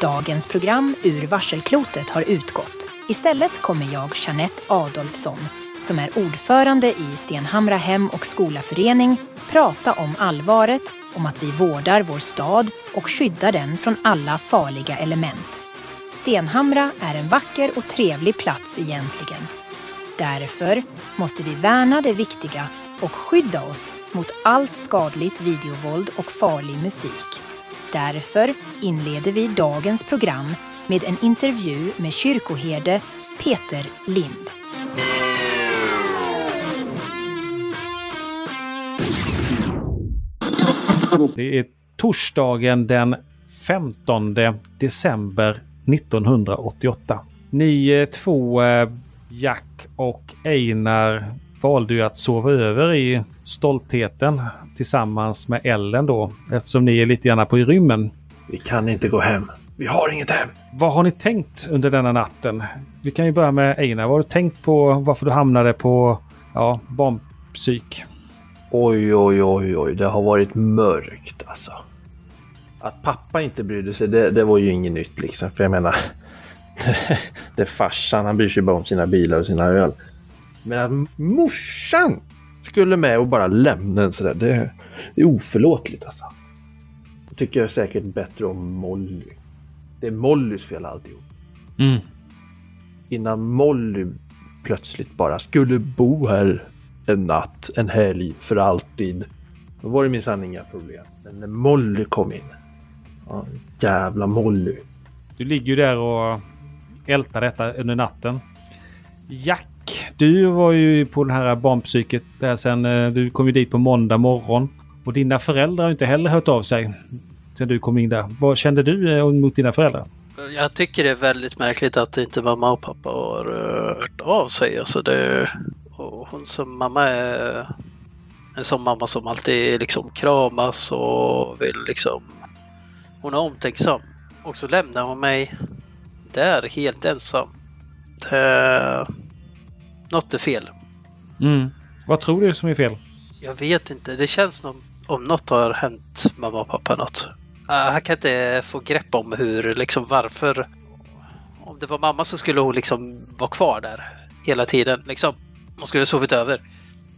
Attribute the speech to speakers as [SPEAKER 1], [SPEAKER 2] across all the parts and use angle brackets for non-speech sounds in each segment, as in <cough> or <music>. [SPEAKER 1] Dagens program ur Varselklotet har utgått. Istället kommer jag, Jeanette Adolfsson, som är ordförande i Stenhamra Hem och Skolaförening, prata om allvaret, om att vi vårdar vår stad och skyddar den från alla farliga element. Stenhamra är en vacker och trevlig plats egentligen. Därför måste vi värna det viktiga och skydda oss mot allt skadligt videovåld och farlig musik. Därför inleder vi dagens program med en intervju med kyrkoherde Peter Lind.
[SPEAKER 2] Det är torsdagen den 15 december 1988. Ni eh, två, eh, Jack och Einar, valde ju att sova över i stoltheten tillsammans med Ellen då, eftersom ni är lite grann på i rymmen.
[SPEAKER 3] Vi kan inte gå hem. Vi har inget hem.
[SPEAKER 2] Vad har ni tänkt under denna natten? Vi kan ju börja med Einar. Vad har du tänkt på varför du hamnade på ja, barnpsyk?
[SPEAKER 3] Oj, oj, oj, oj. Det har varit mörkt alltså. Att pappa inte brydde sig, det, det var ju inget nytt liksom. För jag menar, <laughs> det, det är farsan, han bryr sig bara om sina bilar och sina öl. Men att morsan skulle med och bara lämna en sådär, det, det är oförlåtligt alltså. Jag tycker jag säkert bättre om Molly. Det är Mollys fel alltihop. innan Molly plötsligt bara skulle bo här en natt, en helg, för alltid. Då var det minsann inga problem. Men när Molly kom in. Ja, jävla Molly.
[SPEAKER 2] Du ligger ju där och ältar detta under natten. Jack, du var ju på den här barnpsyket där sen. eh, Du kom ju dit på måndag morgon. Och dina föräldrar har ju inte heller hört av sig sen du kom in där. Vad kände du eh, mot dina föräldrar?
[SPEAKER 4] Jag tycker det är väldigt märkligt att inte mamma och pappa har eh, hört av sig. Alltså det, och hon som mamma är en sån mamma som alltid liksom kramas och vill liksom... Hon är omtänksam. Och så lämnar hon mig där helt ensam. Det, något är fel.
[SPEAKER 2] Mm. Vad tror du som är fel?
[SPEAKER 4] Jag vet inte. Det känns som om något har hänt mamma och pappa något. Ah, Han kan inte få grepp om hur, liksom varför. Om det var mamma så skulle hon liksom vara kvar där hela tiden. Liksom. Hon skulle ha sovit över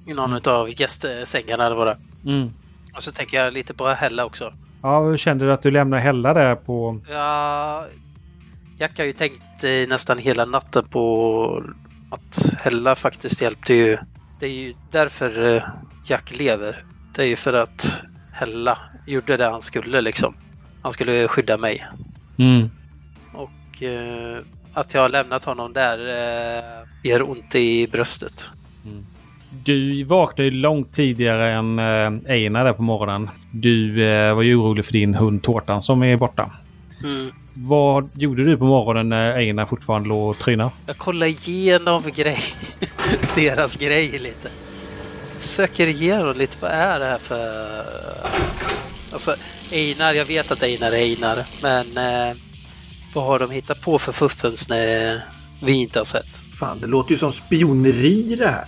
[SPEAKER 4] i någon av gästsängarna eller vad det
[SPEAKER 2] Mm.
[SPEAKER 4] Och så tänker jag lite på Hella också.
[SPEAKER 2] Ja, hur kände du att du lämnade Hella där på...
[SPEAKER 4] Ja, Jack har ju tänkt eh, nästan hela natten på att Hella faktiskt hjälpte ju. Det är ju därför eh, Jack lever. Det är ju för att Hella gjorde det han skulle liksom. Han skulle skydda mig. Och eh, att jag har lämnat honom där eh, gör ont i bröstet.
[SPEAKER 2] Du vaknade ju långt tidigare än eh, Einar där på morgonen. Du eh, var ju orolig för din hund Tårtan som är borta.
[SPEAKER 4] Mm.
[SPEAKER 2] Vad gjorde du på morgonen när Einar fortfarande låg och trynade?
[SPEAKER 4] Jag kollar igenom grej, <laughs> deras grej lite. Söker igenom lite, vad är det här för... Alltså, Einar, jag vet att Einar är Einar, men eh, vad har de hittat på för fuffens när vi inte har sett?
[SPEAKER 3] Fan, det låter ju som spioneri det här.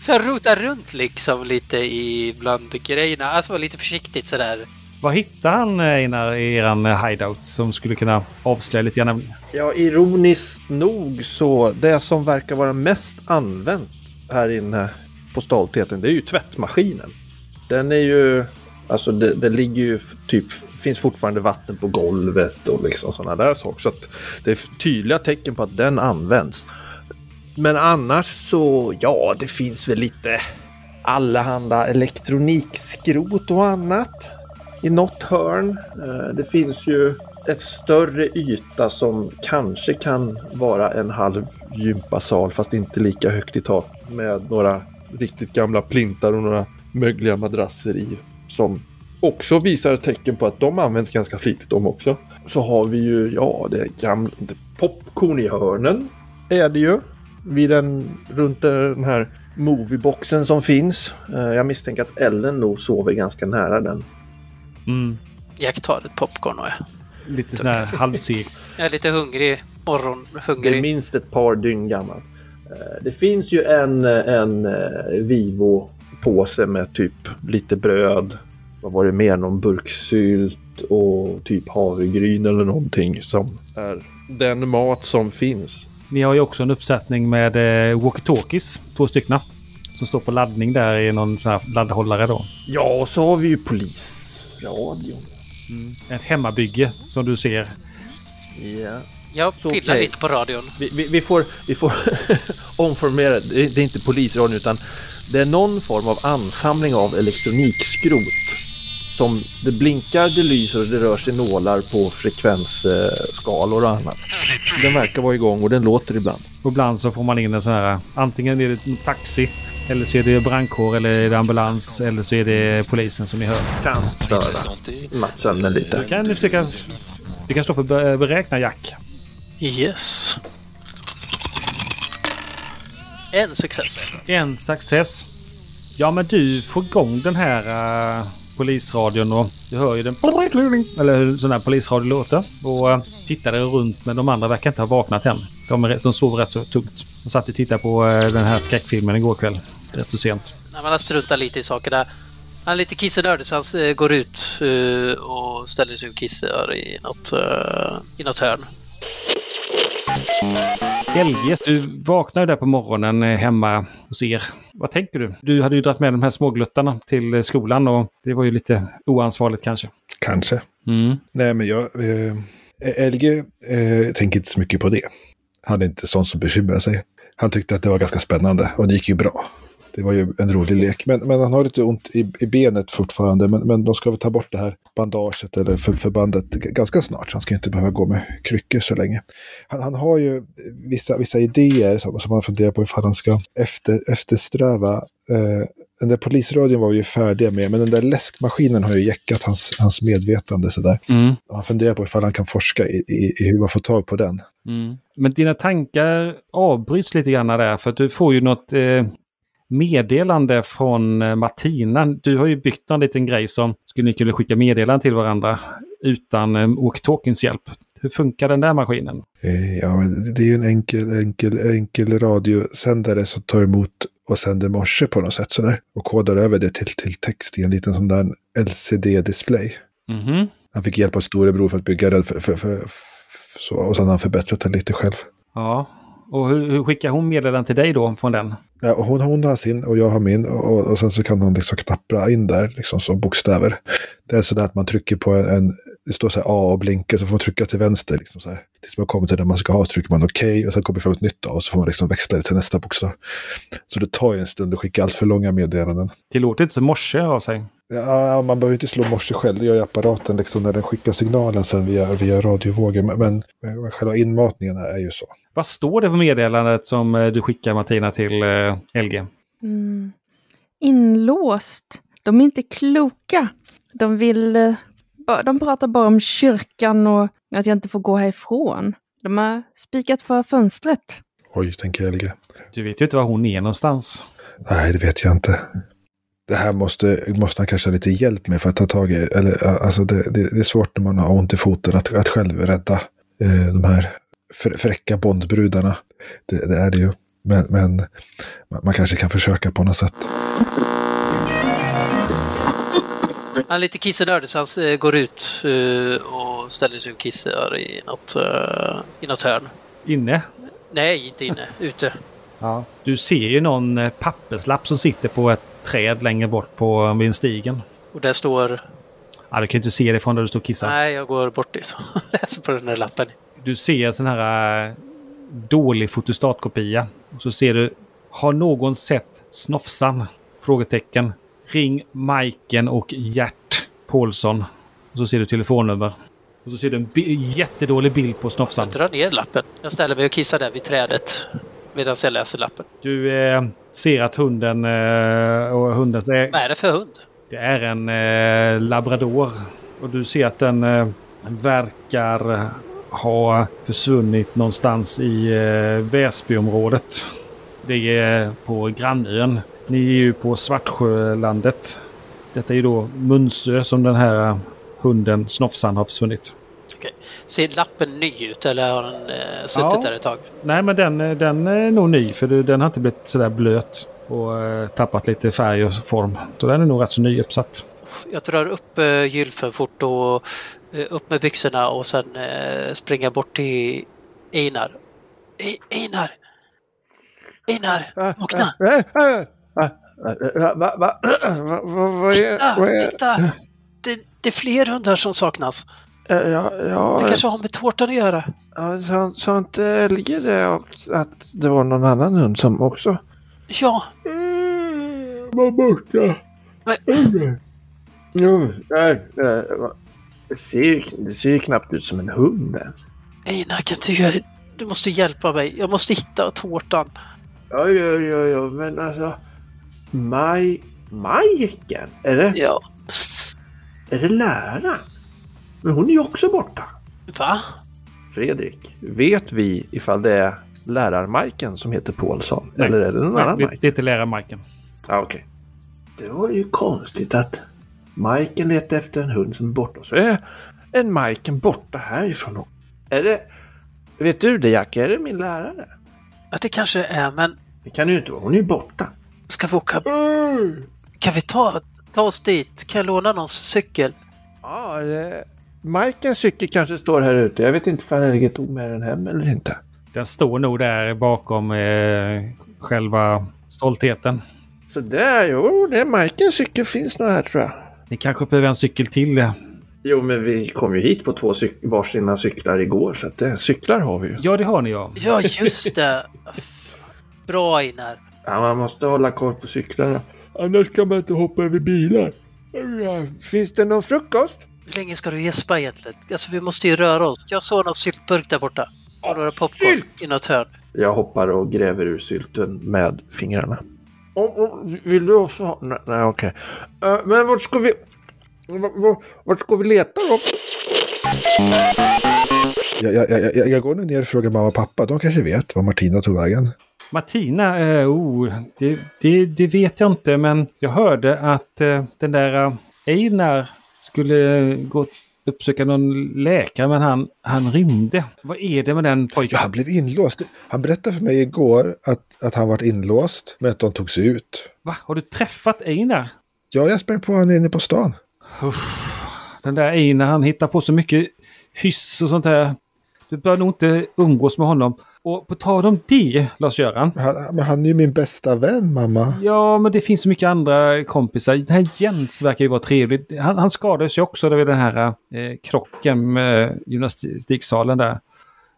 [SPEAKER 4] Så jag rotar runt liksom lite i bland grejerna, alltså lite försiktigt sådär.
[SPEAKER 2] Vad hittade han eh, Einar i eran eh, hideout som skulle kunna avslöja lite grann?
[SPEAKER 3] Ja, ironiskt nog så det som verkar vara mest använt här inne på stoltheten, det är ju tvättmaskinen. Den är ju, alltså det, det ligger ju f- typ, finns fortfarande vatten på golvet och liksom sådana där saker. Så att det är f- tydliga tecken på att den används. Men annars så, ja, det finns väl lite allehanda elektronikskrot och annat i något hörn. Eh, Det finns ju ett större yta som kanske kan vara en halv gympasal fast inte lika högt i tak med några riktigt gamla plintar och några mögliga madrasser i som också visar tecken på att de används ganska flitigt de också. Så har vi ju, ja, det är gamla det är popcorn i hörnen är det ju. Vid den, runt den här movieboxen som finns. Eh, Jag misstänker att Ellen nog sover ganska nära den.
[SPEAKER 4] Jack tar ett popcorn och jag.
[SPEAKER 2] Lite sån
[SPEAKER 3] <laughs>
[SPEAKER 2] här halvsegt.
[SPEAKER 4] Jag är lite hungrig,
[SPEAKER 3] Det är
[SPEAKER 4] morgonhungrig.
[SPEAKER 3] minst ett par dygn gammal. Eh, Det finns ju en, en eh, Vivo-påse med typ lite bröd,
[SPEAKER 5] Vad var det mer? Någon burksylt och typ havregryn eller någonting som är den mat som finns.
[SPEAKER 2] Ni har ju också en uppsättning med eh, walkie-talkies. Två stycken. Som står på laddning där i någon sån här laddhållare då.
[SPEAKER 5] Ja, och så har vi ju polisradion.
[SPEAKER 2] Ett hemmabygge som du ser.
[SPEAKER 5] Ja.
[SPEAKER 4] Jag
[SPEAKER 5] Så,
[SPEAKER 4] pillar
[SPEAKER 5] okej.
[SPEAKER 4] lite på radion.
[SPEAKER 5] Vi, vi, vi får, vi får <laughs> omformulera. Det det är inte polisradion utan det är någon form av ansamling av elektronikskrot. Som det blinkar, det lyser och det rör sig nålar på frekvensskalor och annat. Den verkar vara igång och den låter ibland.
[SPEAKER 2] Och ibland så får man in en sån här. Antingen är det en taxi. Eller så är det brandkår eller är det ambulans. Eller så är det polisen som ni hör.
[SPEAKER 5] Kan störa nattsömnen lite.
[SPEAKER 2] Du kan du försöka... Du kan stå för be- beräkna Jack.
[SPEAKER 4] Yes. En success.
[SPEAKER 2] En success. Ja men du får igång den här eh, polisradion och du hör ju den... Eller hur sån här polisradio låter. Och uh, tittar dig runt men de andra verkar inte ha vaknat än. De, är, rätt- de sover rätt så tungt. De satt och tittade på eh, den här skräckfilmen igår kväll. Rätt så sent.
[SPEAKER 4] Nej, men han struntar lite i sakerna. Han är lite kissenördig så han eh, går ut eh, och ställer sig och kissar i något, eh, i något hörn.
[SPEAKER 2] LG, du vaknar ju där på morgonen eh, hemma hos er. Vad tänker du? Du hade ju dragit med de här smågluttarna till eh, skolan och det var ju lite oansvarigt kanske.
[SPEAKER 6] Kanske. Nej, men jag... Eh, LG eh, tänker inte så mycket på det. Han är inte sån som bekymrar sig. Han tyckte att det var ganska spännande och det gick ju bra. Det var ju en rolig lek. Men, men han har lite ont i, i benet fortfarande. Men, men de ska väl ta bort det här bandaget eller för, förbandet g- ganska snart. Så han ska ju inte behöva gå med kryckor så länge. Han, han har ju vissa, vissa idéer som, som han funderar på ifall han ska efter, eftersträva. Eh, den där polisradion var vi ju färdiga med, men den där läskmaskinen har ju jäckat hans, hans medvetande sådär.
[SPEAKER 2] Mm.
[SPEAKER 6] Och Han funderar på ifall han kan forska i, i, i hur man får tag på den.
[SPEAKER 2] Men dina tankar avbryts lite grann där för att du får ju något eh, meddelande från eh, Martina. Du har ju byggt någon liten grej som skulle ni kunna skicka meddelanden till varandra utan eh, walkie-talkiens hjälp. Hur funkar den där maskinen?
[SPEAKER 6] Eh, Ja, men det- det är ju en enkel, enkel, enkel radiosändare som tar emot och sänder morse på något sätt sådär. Och kodar över det till, till text i en liten sån där LCD-display.
[SPEAKER 2] Mhm.
[SPEAKER 6] Han fick hjälp av storebror för att bygga den. För, för, för, för- så, och sen har han förbättrat den lite själv.
[SPEAKER 2] Ja. Och hur, hur skickar hon meddelanden till dig då från den?
[SPEAKER 6] Ja, och hon, hon har sin och jag har min. Och, och, och sen så kan hon liksom knappra in där liksom som bokstäver. Det är sådär att man trycker på en, en det står så här A och blinkar så får man trycka till vänster. Liksom så här. Tills man kommer till den man ska ha så trycker man okej och sen kommer det fram ett nytt A och så får man liksom växla det till nästa bokstav. Så det tar ju en stund att skicka allt för långa meddelanden.
[SPEAKER 2] Det låter inte så morse av sig.
[SPEAKER 6] Ja, man behöver inte slå morse själv, det gör ju apparaten liksom när den skickar signalen sen via, via radiovågor. Men, men, men själva inmatningen är ju så.
[SPEAKER 2] Vad står det på meddelandet som eh, du skickar Martina till eh, LG?
[SPEAKER 7] Mm. Inlåst. De är inte kloka. De vill... eh, ba- De pratar bara om kyrkan och att jag inte får gå härifrån. De har spikat för fönstret.
[SPEAKER 6] Oj, tänker LG.
[SPEAKER 2] Du vet ju inte var hon är någonstans.
[SPEAKER 6] Nej, det vet jag inte. Det här måste, måste han kanske ha lite hjälp med för att ta tag i. Eller, ä, alltså det, det, det är svårt när man har ont i foten att, att själv rädda eh, de här frä- fräcka Bondbrudarna. Det, det är det ju. Men, men man, man kanske kan försöka på något sätt.
[SPEAKER 4] Han är lite kissenördig så han eh, går ut eh, och ställer sig och kissar i något, eh, i något hörn.
[SPEAKER 2] Inne?
[SPEAKER 4] Nej, inte inne. Ute.
[SPEAKER 2] Du ser ju någon eh, papperslapp som sitter på ett träd längre bort på vid en stigen.
[SPEAKER 4] Och där står...
[SPEAKER 2] Ja, du kan ju inte se det från där du står och kissar.
[SPEAKER 4] Nej, jag går bort dit <laughs> och läser på den där lappen.
[SPEAKER 2] Du ser sån här eh, dålig fotostatkopia. Och så ser du, har någon sett Snofsan? Frågetecken. Ring Majken och Gert Paulsson. Och så ser du telefonnummer. Och så ser du en bi- jättedålig bild på Snofsan.
[SPEAKER 4] Jag drar ner lappen. Jag ställer mig och kissar där vid trädet medan jag läser lappen.
[SPEAKER 2] Du eh, ser att hunden eh, och hundens ägare...
[SPEAKER 4] Vad är det för hund?
[SPEAKER 2] Det är en eh, labrador. Och du ser att den eh, verkar ha försvunnit någonstans i eh, Väsbyområdet. Det är på grannön. Ni är ju på Svartsjölandet. Detta är ju då Munsö som den här hunden Snofsan har försvunnit.
[SPEAKER 4] Ser lappen ny ut eller har den eh, suttit
[SPEAKER 2] Ja.
[SPEAKER 4] där ett tag?
[SPEAKER 2] Nej men den, eh, den är nog ny för det- den har inte blivit sådär blöt och eh, tappat lite färg och form. Så den är nog rätt så nyuppsatt.
[SPEAKER 4] Jag drar upp eh, gylfen fort och eh, upp med byxorna och sen eh, springa bort till Einar. E- Einar! Einar!
[SPEAKER 8] Äh,
[SPEAKER 4] Vakna!
[SPEAKER 3] Va, va, va, <clears throat> va, vad
[SPEAKER 4] Titta!
[SPEAKER 3] är... Vad
[SPEAKER 8] äh,
[SPEAKER 3] är
[SPEAKER 4] Titta! Det, det är fler hundar som saknas.
[SPEAKER 3] ja, ja,
[SPEAKER 4] Det kanske har med tårtan att göra.
[SPEAKER 3] ja, sa, sa inte Elge det och- att det var någon annan hund som också...
[SPEAKER 4] Ja,
[SPEAKER 3] Var borta.
[SPEAKER 4] men,
[SPEAKER 3] Jo, där, där, va. Det ser, ju- det ser ju knappt ut som en hund ens.
[SPEAKER 4] Einar kan inte göra... Du måste hjälpa mig. Jag måste hitta tårtan.
[SPEAKER 3] Ja, ja, ja, ja, men alltså... Maj... Majken? Är det,
[SPEAKER 4] Ja.
[SPEAKER 3] är det läraren? Men hon är ju också borta.
[SPEAKER 4] Va?
[SPEAKER 3] Fredrik, vet vi ifall det är lärarmajken som heter Paulsson?
[SPEAKER 2] Nej.
[SPEAKER 3] Eller är det någon
[SPEAKER 2] Nej,
[SPEAKER 3] annan
[SPEAKER 2] det,
[SPEAKER 3] Mike?
[SPEAKER 2] det är inte lärarmarken.
[SPEAKER 3] Ja, okej. Det var ju konstigt att Majken letade efter en hund som är borta. Så är en Majken borta härifrån. då. Är det... Vet du det Jack? Är det min lärare?
[SPEAKER 4] Ja, det kanske är, men
[SPEAKER 3] Det kan det ju inte vara. Hon är ju borta.
[SPEAKER 4] ska vi åka...
[SPEAKER 3] Mm.
[SPEAKER 4] Kan vi ta, ta oss dit? Kan jag låna någons cykel?
[SPEAKER 3] Ja, det... Majkens cykel kanske står här ute. Jag vet inte ifall Helge tog med den hem eller inte.
[SPEAKER 2] Den står nog där bakom eh, själva stoltheten.
[SPEAKER 3] Så där, jo, det är Majkens cykel finns nog här tror jag.
[SPEAKER 2] Ni kanske behöver en cykel till. eh.
[SPEAKER 3] Jo, men vi kom ju hit på två cyk- varsina cyklar igår, så att det, cyklar har vi ju.
[SPEAKER 2] Ja, det har ni ja.
[SPEAKER 4] Ja, just det! <laughs> Bra Einar.
[SPEAKER 3] Ja, man måste hålla koll på cyklarna. Annars kan man inte hoppa över bilar. Finns det någon frukost?
[SPEAKER 4] Hur länge ska du gäspa egentligen? Alltså, vi måste ju röra oss. Jag såg någon syltburk där borta.
[SPEAKER 3] Ah,
[SPEAKER 4] Och några popcorn i något hörn.
[SPEAKER 3] Jag hoppar och gräver ur sylten med fingrarna. Om, om, vill du också ha? Nej, nej okej. Eh, men vart ska vi... Vart, vart- vart ska vi leta då?
[SPEAKER 6] Jag, jag, jag, jag, jag går nu ner och frågar mamma och pappa. De kanske vet var Martina tog vägen.
[SPEAKER 2] Martina, eh, oh, det, det, det vet jag inte men jag hörde att eh, den där eh, Einar skulle eh, gå och uppsöka någon läkare men han, han rymde. Vad är det med den
[SPEAKER 6] Ja,
[SPEAKER 2] pojken?
[SPEAKER 6] han blev inlåst. Han berättade för mig igår att, att han varit inlåst, men att de tog sig ut.
[SPEAKER 2] Va? Har du träffat Einar?
[SPEAKER 6] Ja, jag sprang på honom inne på stan.
[SPEAKER 2] Den där Einar han hittar på så mycket hyss och sånt där. Du bör nog inte umgås med honom. Och på tal om det, Lars-Göran.
[SPEAKER 6] Han, men han är ju min bästa vän, mamma.
[SPEAKER 2] Ja, men det finns så mycket andra kompisar. Den här Jens verkar ju vara trevlig. Han, han skadades ju också vid den här eh, krocken med gymnastiksalen där.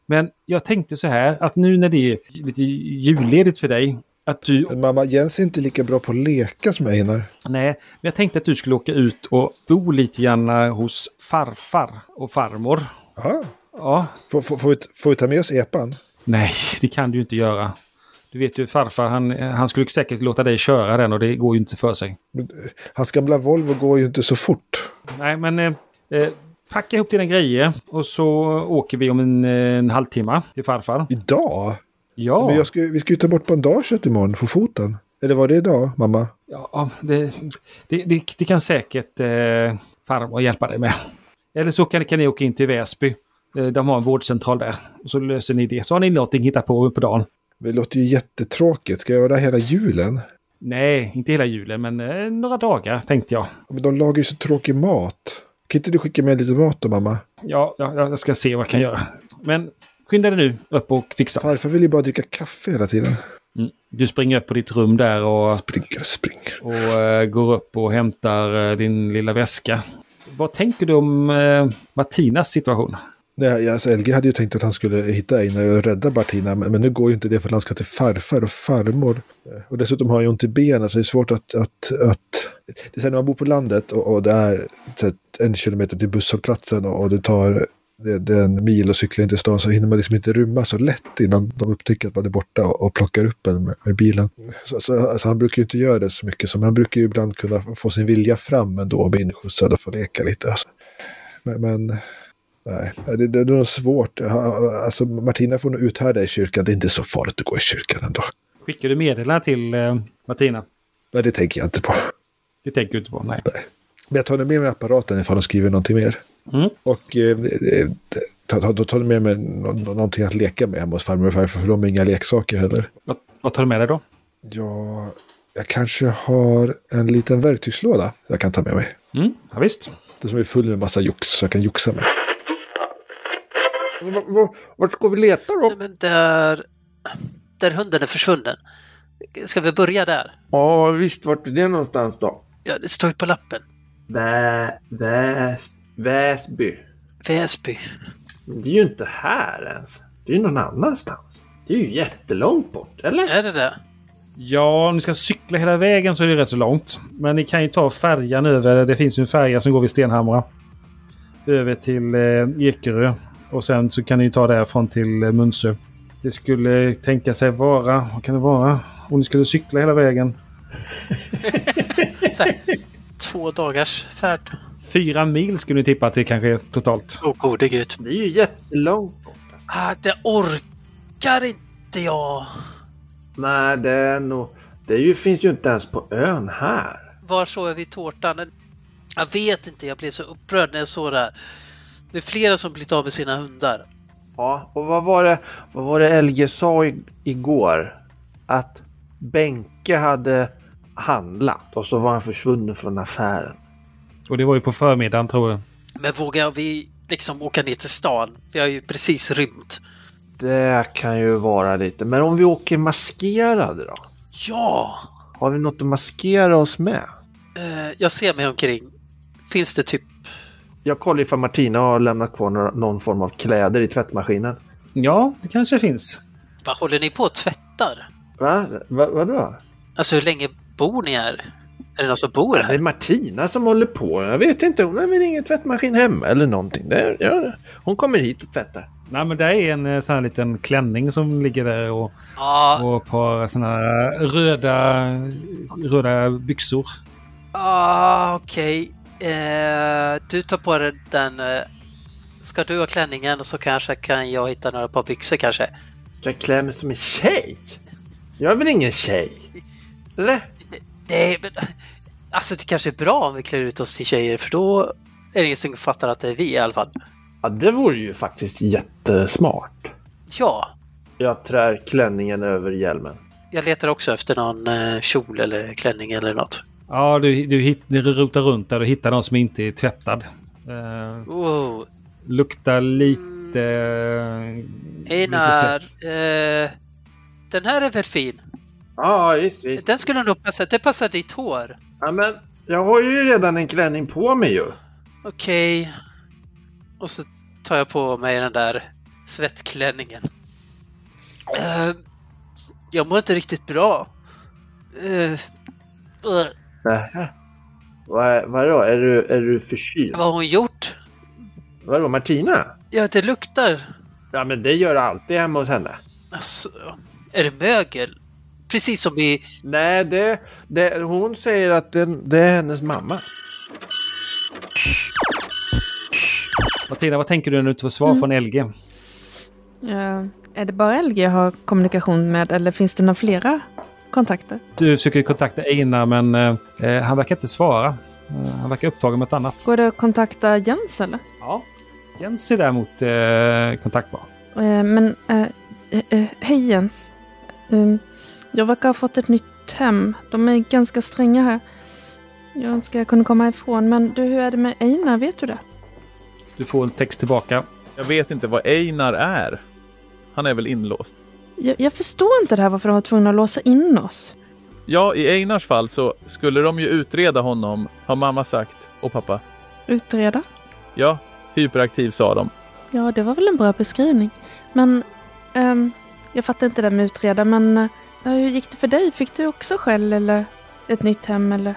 [SPEAKER 2] Men jag tänkte så här att nu när det är lite julledigt för dig att du...
[SPEAKER 6] Men mamma, Jens är inte lika bra på att leka som Einar.
[SPEAKER 2] Nej, men jag tänkte att du skulle åka ut och bo lite grann hos farfar och farmor.
[SPEAKER 6] Jaha.
[SPEAKER 2] Ja,
[SPEAKER 6] Får, får, får, vi, t- får vi ta med oss epan?
[SPEAKER 2] Nej, det kan du ju inte göra. Du vet ju farfar, han, han skulle säkert låta dig köra den och det går ju inte för sig.
[SPEAKER 6] Hans gamla Volvo går ju inte så fort.
[SPEAKER 2] Nej, men eh, eh, packa ihop dina grejer och så åker vi om en, eh, en halvtimme till farfar.
[SPEAKER 6] Idag?
[SPEAKER 2] Ja,
[SPEAKER 6] Men jag ska, vi ska ju ta bort bandaget imorgon på foten. Eller var det idag, mamma?
[SPEAKER 2] ja det, det, det, det kan säkert eh, farmor hjälpa dig med. Eller så kan, kan ni åka in till Väsby. Eh, De har en vårdcentral där. Och så löser ni det. Så har ni någonting hittat på på dagen.
[SPEAKER 6] Det låter ju jättetråkigt. Ska jag göra det här hela julen?
[SPEAKER 2] Nej, inte hela julen, men eh, några dagar tänkte jag.
[SPEAKER 6] Ja, Men de lagar ju så tråkig mat. Kan inte du skicka med lite mat då, mamma?
[SPEAKER 2] Ja, ja, jag ska se vad jag kan göra. Men skynda dig nu upp och fixa.
[SPEAKER 6] Farfar vill ju bara dricka kaffe hela tiden.
[SPEAKER 2] Mm. Du springer upp på ditt rum där och,
[SPEAKER 6] Springer och springer.
[SPEAKER 2] och eh, går upp och hämtar eh, din lilla väska. Vad tänker du om eh, Martinas situation?
[SPEAKER 6] Nej, alltså LG hade ju tänkt att han skulle hitta Einar och rädda Martina, men, men nu går ju inte det för att han ska till farfar och farmor. Eh, Och dessutom har han ju ont i benen, så det är svårt att... att, att det är så här, när man bor på landet och, och det är så här, en kilometer till busshållplatsen och, och det tar det, det är en mil och cyklar in till stan så hinner man liksom inte rymma så lätt innan de upptäcker att man är borta och, och plockar upp en med, med bilen. Så, så, alltså han brukar ju inte göra det så mycket, så han brukar ju ibland kunna få sin vilja fram ändå och bli inskjutsad och få leka lite. Alltså. Men, men Nej, det, det, det är nog svårt. Ha- Alltså, Martina får nog uthärda i kyrkan. Det är inte så farligt att gå i kyrkan ändå.
[SPEAKER 2] Skickar du meddelande till eh, Martina?
[SPEAKER 6] Nej, det tänker jag inte på.
[SPEAKER 2] Det tänker du inte på? Nej.
[SPEAKER 6] Men jag tar nu med mig apparaten ifall de skriver någonting mer.
[SPEAKER 2] Mm.
[SPEAKER 6] Och eh, eh, ta, ta, då tar du med mig nå- nå- någonting att leka med hemma hos farmor och farfar, för de har inga leksaker heller.
[SPEAKER 2] Vad, vad tar du med dig då?
[SPEAKER 6] Ja, Jag kanske har en liten verktygslåda jag kan ta med mig.
[SPEAKER 2] Mm, ja, visst.
[SPEAKER 6] Det som är full med massa jox så jag kan joxa med.
[SPEAKER 3] V- v- Vart ska vi leta då?
[SPEAKER 4] Nej, men där... Där hunden är försvunnen. Ska vi börja där?
[SPEAKER 3] Ja, visst. Vart är det någonstans då?
[SPEAKER 4] Ja, det står ju på lappen.
[SPEAKER 3] Vä, väs, Väsby.
[SPEAKER 4] Väsby.
[SPEAKER 3] Det är ju inte här ens. Det är ju någon annanstans. Det är ju jättelångt bort, eller?
[SPEAKER 4] Är det det?
[SPEAKER 2] Ja, om ni ska cykla hela vägen så är det rätt så långt. Men ni kan ju ta färjan över. Det finns ju en färja som går vid Stenhamra. Över till eh, Ekerö. Och sen så kan ni ju ta därifrån till eh, Munsö. Det skulle tänka sig vara... Vad kan det vara? Om ni skulle cykla hela vägen.
[SPEAKER 4] Så
[SPEAKER 3] <laughs>
[SPEAKER 4] här, två dagars färd.
[SPEAKER 2] Fyra mil skulle ni tippa att det kanske är totalt.
[SPEAKER 4] Åh gode gud.
[SPEAKER 3] Det är ju jättelångt bort. Alltså.
[SPEAKER 4] Ah, det orkar inte jag.
[SPEAKER 3] Nej, det är nog... Det är ju, finns ju inte ens på ön här.
[SPEAKER 4] Var såg vi tårtan? Jag vet inte, jag blev så upprörd när jag såg det här. Det är flera som blivit av med sina hundar.
[SPEAKER 3] Ja, och vad var det, vad var det LG sa i, igår? Att Benke hade handlat och så var han försvunnen från affären.
[SPEAKER 2] Och det var ju på förmiddagen tror jag.
[SPEAKER 4] Men vågar vi liksom åka ner till stan? Vi har ju precis rymt.
[SPEAKER 3] Det kan ju vara lite. Men om vi åker maskerade då?
[SPEAKER 4] Ja!
[SPEAKER 3] Har vi något att maskera oss med?
[SPEAKER 4] Eh, jag ser mig omkring. Finns det typ...
[SPEAKER 3] Jag kollar ifall Martina har lämnat kvar några- någon form av kläder i tvättmaskinen.
[SPEAKER 2] Ja, det kanske finns.
[SPEAKER 4] Vad håller ni på och tvättar?
[SPEAKER 3] Va? Va vadå?
[SPEAKER 4] Alltså hur länge bor ni här? Är det någon som bor
[SPEAKER 3] Det är
[SPEAKER 4] här?
[SPEAKER 3] Martina som håller på. Jag vet inte, hon har väl ingen tvättmaskin hemma eller någonting. Det är, ja, hon kommer hit och tvättar.
[SPEAKER 2] Nej, men det är en eh, sån här liten klänning som ligger där och,
[SPEAKER 4] Ja,
[SPEAKER 2] och ett par såna här röda, röda byxor.
[SPEAKER 4] ah, okej. Eh, du tar på dig den... Eh, ska du ha klänningen och så kanske kan jag hitta några par byxor kanske?
[SPEAKER 3] Ska jag klä mig som en tjej? Jag är väl ingen tjej? Eller?
[SPEAKER 4] Nej, men... Alltså det kanske är bra om vi klär ut oss till tjejer för då är det ingen som fattar att det är vi i alla fall.
[SPEAKER 3] Ja, det vore ju faktiskt jättesmart.
[SPEAKER 4] Ja,
[SPEAKER 3] Jag trär klänningen över hjälmen.
[SPEAKER 4] jag letar också efter någon eh, kjol eller klänning eller något.
[SPEAKER 2] Ja, du, du, hit, du rotar runt där och hittar någon som inte är tvättad. Eh,
[SPEAKER 4] Oh,
[SPEAKER 2] luktar lite... lite
[SPEAKER 4] Einar,
[SPEAKER 2] svett.
[SPEAKER 4] eh, den här är väl fin?
[SPEAKER 3] Ja, visst, visst.
[SPEAKER 4] Den skulle nog passa, det passar ditt hår.
[SPEAKER 3] Ja, men jag har ju redan en klänning på mig ju.
[SPEAKER 4] Okej. Och så tar jag på mig den där svettklänningen. Eh, jag mår inte riktigt bra. Eh, eh,
[SPEAKER 3] Nähä. Äh, Vad- Vadå, är du, är du förkyld?
[SPEAKER 4] vad har hon gjort?
[SPEAKER 3] Vadå, Martina?
[SPEAKER 4] Ja, det luktar.
[SPEAKER 3] Ja, men det gör jag alltid hemma hos henne.
[SPEAKER 4] Alltså, är det mögel? Precis som i...
[SPEAKER 3] Nej, det, det, hon säger att det, det är hennes mamma.
[SPEAKER 2] Martina, vad tänker du när du inte får
[SPEAKER 9] Mm.
[SPEAKER 2] svar från LG?
[SPEAKER 7] Eh, är det bara LG jag har kommunikation med eller finns det några flera kontakter?
[SPEAKER 2] Du försöker kontakta Einar, men eh, eh, han verkar inte svara. Eh, han verkar upptagen med något annat.
[SPEAKER 7] Går det att kontakta Jens eller?
[SPEAKER 2] Ja. Jens är däremot eh, kontaktbar.
[SPEAKER 7] Eh, men, eh, eh, eh, hej Jens. Eh, jag verkar ha fått ett nytt hem. De är ganska stränga här. Jag önskar jag kunde komma ifrån, men du, hur är det med Einar? Vet du det?
[SPEAKER 2] Du får en text tillbaka.
[SPEAKER 9] Jag vet inte vad Einar är. Han är väl inlåst?
[SPEAKER 7] Jag, jag förstår inte det här varför de var tvungna att låsa in oss.
[SPEAKER 9] Ja, i Einars fall så skulle de ju utreda honom, har mamma sagt. Och pappa.
[SPEAKER 7] Utreda?
[SPEAKER 9] Ja, hyperaktiv sa de.
[SPEAKER 7] Ja, det var väl en bra beskrivning. Men, ehm, jag fattar inte det där med utreda, men eh, ja, hur gick det för dig? Fick du också skäll eller ett nytt hem eller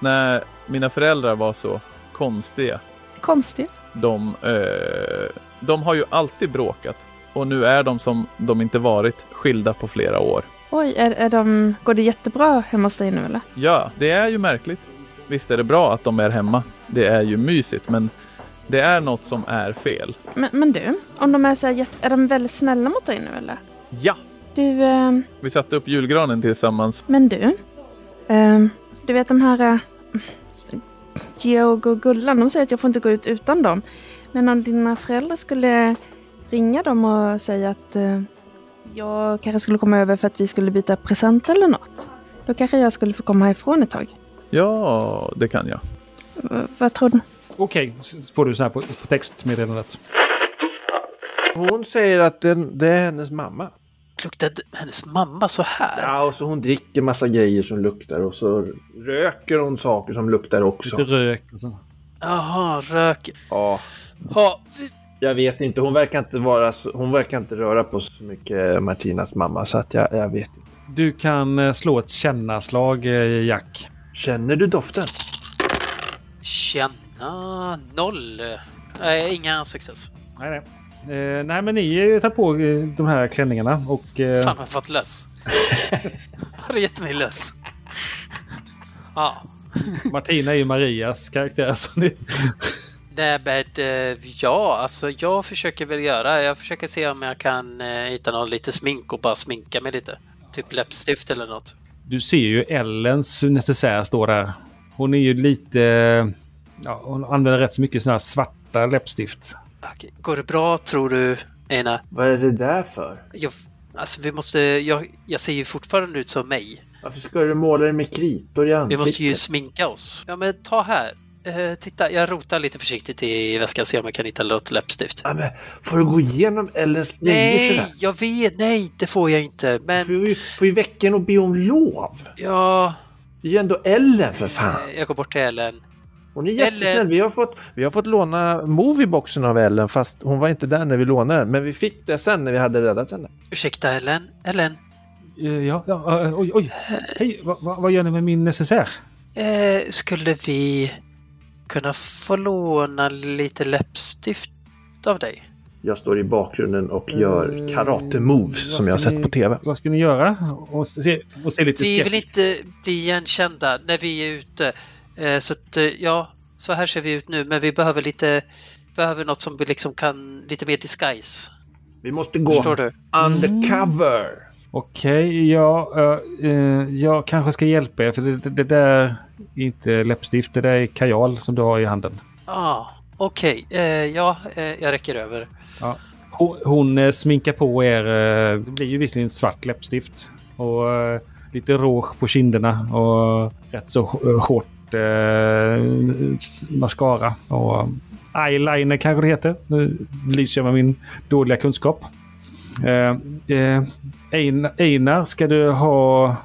[SPEAKER 9] När mina föräldrar var så konstiga.
[SPEAKER 7] konstigt?
[SPEAKER 9] De, eh, de har ju alltid bråkat. Och nu är de som de inte varit, skilda på flera år.
[SPEAKER 7] Oj, är, är de, går det jättebra hemma hos dig nu eller?
[SPEAKER 9] Ja, det är ju märkligt. Visst är det bra att de är hemma. Det är ju mysigt, men det är något som är fel.
[SPEAKER 7] Men, men du, om de är så här, jätte- är de väldigt snälla mot dig nu eller?
[SPEAKER 9] Ja!
[SPEAKER 7] Du, ehm,
[SPEAKER 9] Vi satte upp julgranen tillsammans.
[SPEAKER 7] men du. ehm, du vet de här eh, Georg och Gullan, de säger att jag får inte gå ut utan dem. Men om dina föräldrar skulle ringa dem och säga att eh, jag kanske skulle komma över för att vi skulle byta present eller något. Då kanske jag skulle få komma härifrån ett tag.
[SPEAKER 9] Ja, det kan jag.
[SPEAKER 7] V- vad tror du?
[SPEAKER 2] Okej, så får du så här på, på textmeddelandet.
[SPEAKER 3] Hon säger att den, det är hennes mamma.
[SPEAKER 4] Luktade hennes mamma så här?
[SPEAKER 3] Ja, och så hon dricker massa grejer som luktar och så röker hon saker som luktar
[SPEAKER 2] Lite
[SPEAKER 3] också.
[SPEAKER 2] rök och så.
[SPEAKER 4] Jaha, rök.
[SPEAKER 3] Ja,
[SPEAKER 4] Ja,
[SPEAKER 3] jag vet inte. Hon verkar inte, vara, så- hon verkar inte röra på så mycket Martinas mamma så att jag, jag vet inte.
[SPEAKER 2] Du kan eh, slå ett kännaslag, eh, Jack.
[SPEAKER 3] Känner du doften?
[SPEAKER 4] känna noll. Nej, inga success.
[SPEAKER 2] Nej, nej. Eh, nej, men ni eh, tar på eh, de här klänningarna och... eh,
[SPEAKER 4] Fan, jag har
[SPEAKER 2] <laughs>
[SPEAKER 4] fått löss. Har du gett mig löss? Ja.
[SPEAKER 2] Martina är ju Marias karaktär. Så ni...
[SPEAKER 4] Nej, men eh, ja, alltså jag försöker väl göra. Jag försöker se om jag kan eh, hitta någon lite smink och bara sminka mig lite. Typ läppstift eller något.
[SPEAKER 2] Du ser ju Ellens necessär stå där. Hon är ju lite... Ja, hon använder rätt så mycket såna här svarta läppstift.
[SPEAKER 4] Okej. Går det bra tror du, Eina?
[SPEAKER 3] Vad är det där för?
[SPEAKER 4] Jag, alltså vi måste, jag, jag ser ju fortfarande ut som mig.
[SPEAKER 3] Varför ska du måla dig med kritor i
[SPEAKER 4] Vi
[SPEAKER 3] ansiktet?
[SPEAKER 4] måste ju sminka oss. Ja men ta här. Eh, titta, jag rotar lite försiktigt i väskan se om jag kan hitta något läppstift.
[SPEAKER 3] Ja, men får du gå igenom Ellens grejer
[SPEAKER 4] Nej,
[SPEAKER 3] sådär?
[SPEAKER 4] jag vet, nej det får jag inte.
[SPEAKER 3] Du
[SPEAKER 4] Men
[SPEAKER 3] får ju- får ju väcka henne och be om lov.
[SPEAKER 4] ja,
[SPEAKER 3] Det är ju ändå Ellen för fan.
[SPEAKER 4] eh, jag går bort till Ellen.
[SPEAKER 3] Hon är jättesnäll.
[SPEAKER 4] Ellen.
[SPEAKER 3] Vi, har fått, vi har fått låna movieboxen av Ellen fast hon var inte där när vi lånade den. Men vi fick det sen när vi hade räddat henne.
[SPEAKER 4] Ursäkta Ellen, Ellen.
[SPEAKER 2] Eh, Ja, ja eh, oj, oj. Hej, vad, vad, vad gör ni med min necessär?
[SPEAKER 4] Eh, skulle vi kunna få låna lite läppstift av dig?
[SPEAKER 3] Jag står i bakgrunden och
[SPEAKER 2] Eh,
[SPEAKER 3] gör karate-moves som jag har
[SPEAKER 2] ska
[SPEAKER 3] sett
[SPEAKER 2] ni-
[SPEAKER 3] på tv.
[SPEAKER 2] Vad ska ni göra? Och se, och se lite
[SPEAKER 4] Vi
[SPEAKER 2] skeptisk.
[SPEAKER 4] vill inte bli igenkända när vi är ute. Eh, Så att, eh, ja, så här ser vi ut nu, men vi behöver lite, behöver något som vi liksom kan, lite mer disguise.
[SPEAKER 3] Vi måste gå
[SPEAKER 4] Förstår du? Mm.
[SPEAKER 3] undercover.
[SPEAKER 2] Okej, ja, eh, eh, jag kanske ska hjälpa er för det, det, det där är inte läppstift, det där är kajal som du har i handen.
[SPEAKER 4] Ja, Ah, okej. Eh, Ja, eh, jag räcker över.
[SPEAKER 2] Hon, hon eh, sminkar på er, eh, det blir ju visserligen svart läppstift och eh, lite rouge på kinderna och rätt så h- hårt eh, s- mascara. Och eh, eyeliner kanske det heter. Nu lyser jag med min dåliga kunskap. Eh, eh, Einar- Einar, ska du ha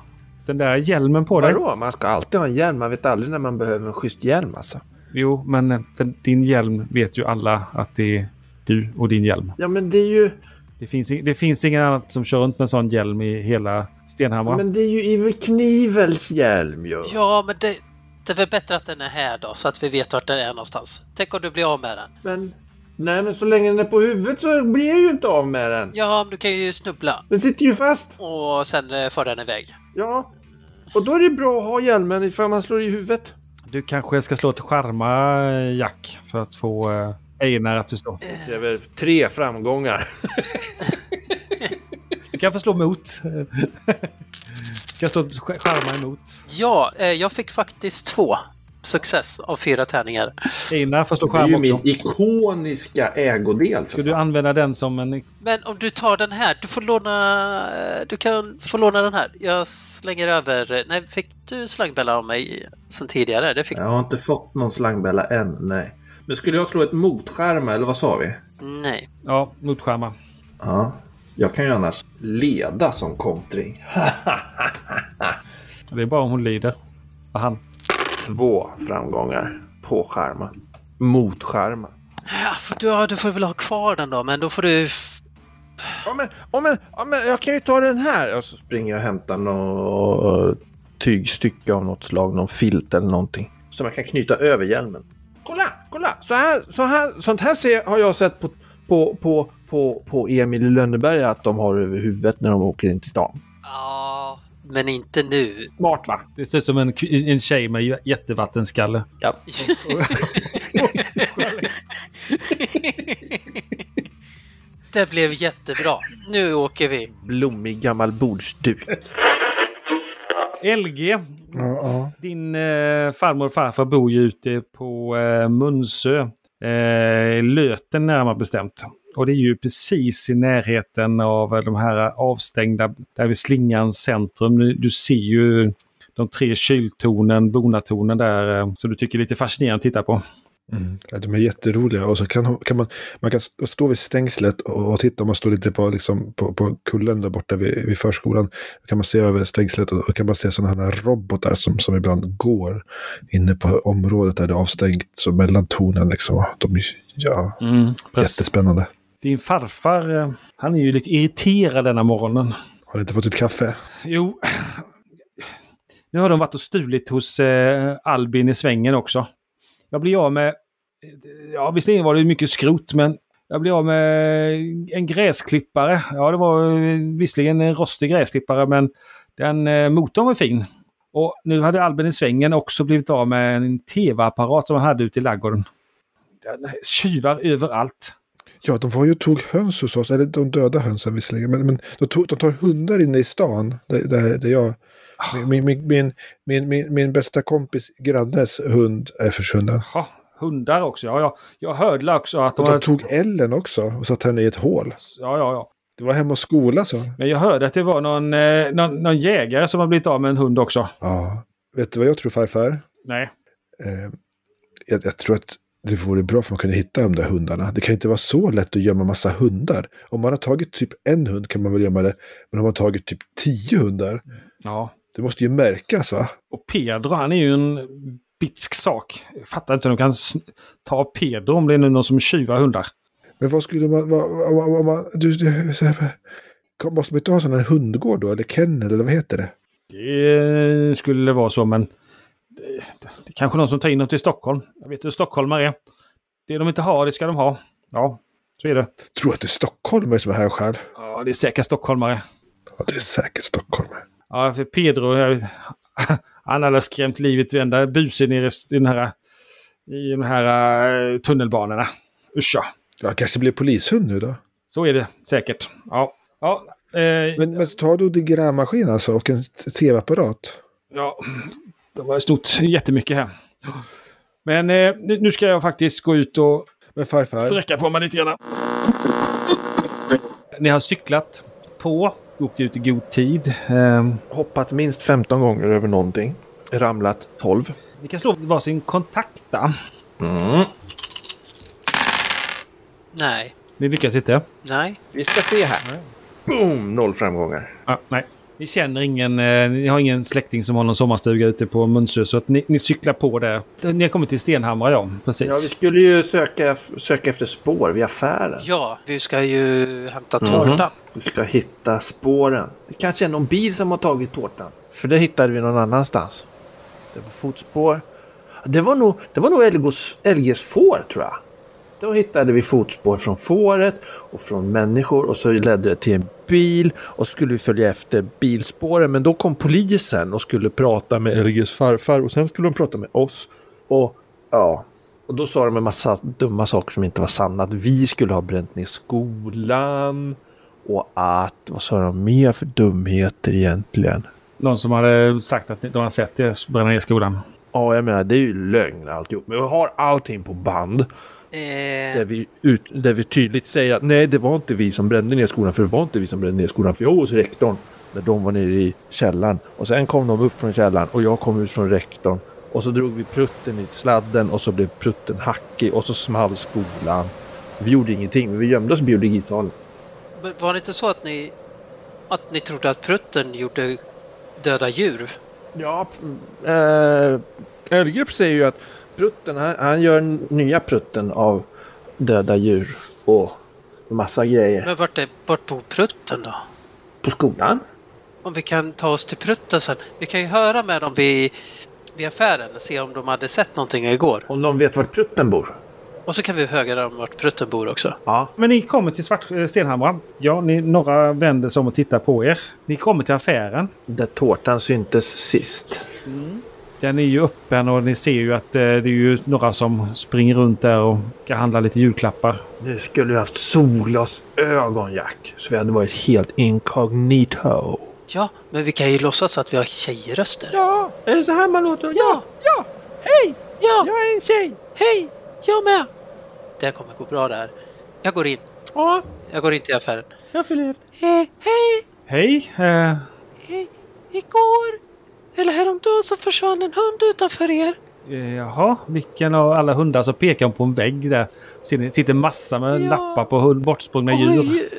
[SPEAKER 2] den där hjälmen på dig?
[SPEAKER 3] Vadå? Man ska alltid ha en hjälm. Man vet aldrig när man behöver en schysst hjälm alltså.
[SPEAKER 2] Jo, men eh, den, din hjälm vet ju alla att det är du och din hjälm.
[SPEAKER 3] Ja men det är ju,
[SPEAKER 2] Det finns, i- det finns ingen annan som kör runt med en sån hjälm i hela Stenhammar.
[SPEAKER 3] men det är ju Evil Knivels hjälm ju.
[SPEAKER 4] Ja, men det, det är väl bättre att den är här då, så att vi vet vart den är någonstans. Tänk om du blir av med den.
[SPEAKER 3] Men, nej men så länge den är på huvudet så blir jag ju inte av med den.
[SPEAKER 4] Ja, men du kan ju snubbla
[SPEAKER 3] Den sitter ju fast.
[SPEAKER 4] och sen eh, för den iväg.
[SPEAKER 3] Ja. Och då är det bra att ha hjälmen ifall man slår i huvudet.
[SPEAKER 2] Du kanske ska slå ett charma, eh, Jack, för att få eh, Einar att förstå.
[SPEAKER 4] Eh.
[SPEAKER 3] Det är väl tre framgångar.
[SPEAKER 2] Du kan få slå <laughs> emot. Du kan slå ett ch- charma emot.
[SPEAKER 4] Ja, eh, jag fick faktiskt två success av fyra tärningar.
[SPEAKER 2] Einar får slå charma också.
[SPEAKER 3] ikoniska ägodel.
[SPEAKER 2] Ska du använda den som en...
[SPEAKER 4] Men om du tar den här, du får låna... eh, Du kan få låna den här. Jag slänger över... eh, Nej, fick du slangbella av mig sen tidigare? Det fick
[SPEAKER 3] Jag har inte fått någon slangbella än, nej. Men skulle jag slå ett motskärma eller vad sa vi?
[SPEAKER 4] Nej.
[SPEAKER 2] Ja, motskärma.
[SPEAKER 3] Ja. Jag kan ju annars leda som kontring.
[SPEAKER 2] Det är bara om hon lyder. Och han.
[SPEAKER 3] Två framgångar på skärma. Motskärma.
[SPEAKER 4] Ja, för du, ja, du får väl ha kvar den då, men då får du...
[SPEAKER 3] Ja men, ja, men, ja, men jag kan ju ta den här. Och så springer jag och hämtar något tygstycke av något slag, någon filt eller någonting. Som jag kan knyta över hjälmen. Kolla, kolla! Så här, så här, sånt här ser, har jag sett på, på, på, på, på Emil i Lönneberga att de har över huvudet när de åker in till stan.
[SPEAKER 4] Ja, men inte nu.
[SPEAKER 3] Smart va?
[SPEAKER 2] Det ser ut som en, kv- en tjej med j- jättevattenskalle.
[SPEAKER 3] <laughs>
[SPEAKER 4] <laughs>
[SPEAKER 3] Ja.
[SPEAKER 4] <laughs> det blev jättebra. Nu åker vi.
[SPEAKER 3] Blommig gammal bordsduk.
[SPEAKER 2] LG,
[SPEAKER 6] Ja, ja.
[SPEAKER 2] Din eh, farmor och farfar bor ju ute på eh, Munsö. Eh, Löten närmare bestämt. Och det är ju precis i närheten av eh, de här avstängda, där vid Slingans centrum. Du, du ser ju de tre kyltornen, bonatornen där, eh, som du tycker är lite fascinerande att titta på.
[SPEAKER 6] Mm. Ja, de är jätteroliga. Och så kan, kan man, man kan stå- stå vid stängslet och, och titta. Om man står lite på, liksom, på, på kullen där borta vid, vid förskolan. Då kan man se över stängslet och, och kan man se sådana här robotar som, som ibland går inne på området där det är avstängt. Så mellan tornen liksom. De är ja, jättespännande.
[SPEAKER 2] Din farfar, eh, han är ju lite irriterad denna morgonen.
[SPEAKER 6] Har ni inte fått ett kaffe?
[SPEAKER 2] Jo, nu har de varit och stulit hos eh, Albin i svängen också. Jag blir av med, ja visserligen var det mycket skrot men jag blir av med en gräsklippare. Ja det var eh, visserligen en rostig gräsklippare men den eh, motorn var fin. Och nu hade Albin i svängen också blivit av med en tv-apparat som han hade ute i ladugården. Den är Tjuvar överallt.
[SPEAKER 6] Ja, de var ju och tog höns hos oss. Eller de döda hönsen visserligen. Men, men de, tog, de tar hundar inne i stan. Där, där, där jag...
[SPEAKER 2] Ah.
[SPEAKER 6] Min, min, min, min, min, min bästa kompis grannes hund är försvunnen.
[SPEAKER 2] Jaha, hundar också. Ja, ja. Jag hörde också att de,
[SPEAKER 6] Och de
[SPEAKER 2] hade-
[SPEAKER 6] tog Ellen också och satte henne i ett hål.
[SPEAKER 2] Ja, ja, ja.
[SPEAKER 6] Det var hemma hos skola så.
[SPEAKER 2] Men jag hörde att det var någon, eh, någon, någon jägare som har blivit av med en hund också.
[SPEAKER 6] Ja. Vet du vad jag tror farfar?
[SPEAKER 2] Nej.
[SPEAKER 6] Eh, jag, jag tror att det vore bra för man kunde hitta de där hundarna. Det kan inte vara så lätt att gömma massa hundar. Om man har tagit typ en hund kan man väl gömma det. Men om man har tagit typ tio hundar.
[SPEAKER 2] Ja.
[SPEAKER 6] Det måste ju märkas va?
[SPEAKER 2] Och Pedro, han är ju en bitsk sak. Jag fattar inte hur de kan sn- ta Pedro om det är nu någon som tjuvar hundar.
[SPEAKER 6] Men vad skulle man... Vad, vad, vad, vad, man- du, du, så här, kan- måste man inte ha sån här hundgård då? Eller kennel eller vad heter det?
[SPEAKER 2] Det eh, skulle vara så, men det, det är kanske någon som tar in dem till Stockholm. Jag vet hur stockholmare är. Det de inte har, det ska de ha. Ja, så är det.
[SPEAKER 6] Tror att det är stockholmare som är här och stjäl?
[SPEAKER 2] Ja, det är säkert stockholmare.
[SPEAKER 6] Ja, det är säkert stockholmare.
[SPEAKER 2] Ja, för Pedro, jag- <laughs> han hade skrämt livet ur enda busen i rest- i den här, i de här eh, tunnelbanorna. Usch ja.
[SPEAKER 6] Ja, kanske blir polishund nu då?
[SPEAKER 2] Så är det säkert. Ja, ja, eh,
[SPEAKER 6] Men, men ta då din grävmaskin alltså och en t- tv-apparat.
[SPEAKER 2] ja det var stort jättemycket här. Men eh, nu nu ska jag faktiskt gå ut och
[SPEAKER 6] Men farfar,
[SPEAKER 2] sträcka på mig lite grann. Ni har cyklat på, åkt ut i god tid. Eh,
[SPEAKER 3] Hoppat minst 15 gånger över någonting. Ramlat 12.
[SPEAKER 2] ni kan slå varsin kontakta.
[SPEAKER 3] Mm.
[SPEAKER 4] Nej.
[SPEAKER 2] Ni lyckas inte.
[SPEAKER 4] Nej.
[SPEAKER 3] Vi ska se här. Boom! Noll framgångar.
[SPEAKER 2] Ja, nej. Ni känner ingen, eh, ni har ingen släkting som har någon sommarstuga ute på Munsö så att ni, ni cyklar på där. Ni har kommit till Stenhammar ja, precis.
[SPEAKER 3] Ja, vi skulle ju söka, söka efter spår vid affären.
[SPEAKER 4] Ja, vi ska ju hämta
[SPEAKER 3] Mhm.
[SPEAKER 4] tårtan.
[SPEAKER 3] Vi ska hitta spåren. Det kanske är någon bil som har tagit tårtan. För det hittade vi någon annanstans. Det var fotspår. Det var nog, det var nog Elgos, Elges får tror jag. Då hittade vi fotspår från fåret och från människor och så ledde det till en bil och skulle vi följa efter bilspåren men då kom polisen och skulle prata med Elges farfar och sen skulle de prata med oss. Och ja, och då sa de en massa dumma saker som inte var sanna. Att vi skulle ha bränt ner skolan. Och att, vad sa de mer för dumheter egentligen?
[SPEAKER 2] Någon som hade sagt att ni- de har sett er bränna ner skolan.
[SPEAKER 3] Ja, jag menar det är ju lögn alltihop. Men vi har allting på band.
[SPEAKER 4] Eh,
[SPEAKER 3] Där vi, ut, där vi tydligt säger att nej, det var inte vi som brände ner skolan. För det var inte vi som brände ner skolan. För jag var hos rektorn. När de var nere i källaren. Och sen kom de upp från källaren och jag kom ut från rektorn. Och så drog vi prutten i sladden och så blev prutten hackig och så small skolan. Vi gjorde ingenting, men vi gömde oss i biologisalen.
[SPEAKER 4] men var det inte så att ni, att ni trodde att prutten gjorde döda djur?
[SPEAKER 3] Ja, eh, Ölgrupp säger ju att prutten, han, han gör n- nya prutten av döda djur och massa grejer.
[SPEAKER 4] Men vart, är, vart bor prutten då?
[SPEAKER 3] På skolan?
[SPEAKER 4] Om vi kan ta oss till prutten sen. Vi kan ju höra med dem vid, vid affären och se om de hade sett någonting igår.
[SPEAKER 3] Om de vet var prutten bor?
[SPEAKER 4] Och så kan vi höra om vart prutten bor också.
[SPEAKER 3] Ja.
[SPEAKER 2] Men ni kommer till Svart eh, Stenhammar. Ja, ni, några vänder sig om och tittar på er. Ni kommer till affären.
[SPEAKER 3] Där tårtan syntes sist.
[SPEAKER 2] Den är ju öppen och ni ser ju att eh, det är ju några som springer runt där och ska handla lite julklappar.
[SPEAKER 3] Nu skulle vi haft solglasögon, Jack. Så vi hade varit helt incognito.
[SPEAKER 4] Ja, men vi kan ju låtsas att vi har tjejröster.
[SPEAKER 3] Ja, är det så här man låter?
[SPEAKER 4] Ja,
[SPEAKER 3] ja, hej!
[SPEAKER 4] ja,
[SPEAKER 3] Jag är en tjej!
[SPEAKER 4] hej! Jag med! Det här kommer gå bra det här. Jag går in.
[SPEAKER 3] Ja,
[SPEAKER 4] Jag går in till affären.
[SPEAKER 3] jag följer efter.
[SPEAKER 4] Eh, hej!
[SPEAKER 2] Hej! Eh,
[SPEAKER 4] Eh, igår Eller häromdagen så försvann en hund utanför er.
[SPEAKER 2] Eh, Jaha, vilken av alla hundar? Så pekar hon på en vägg där. Ser- Sitter massa med
[SPEAKER 4] Ja.
[SPEAKER 2] lappar på hund, bortsprungna djur.
[SPEAKER 4] Oj!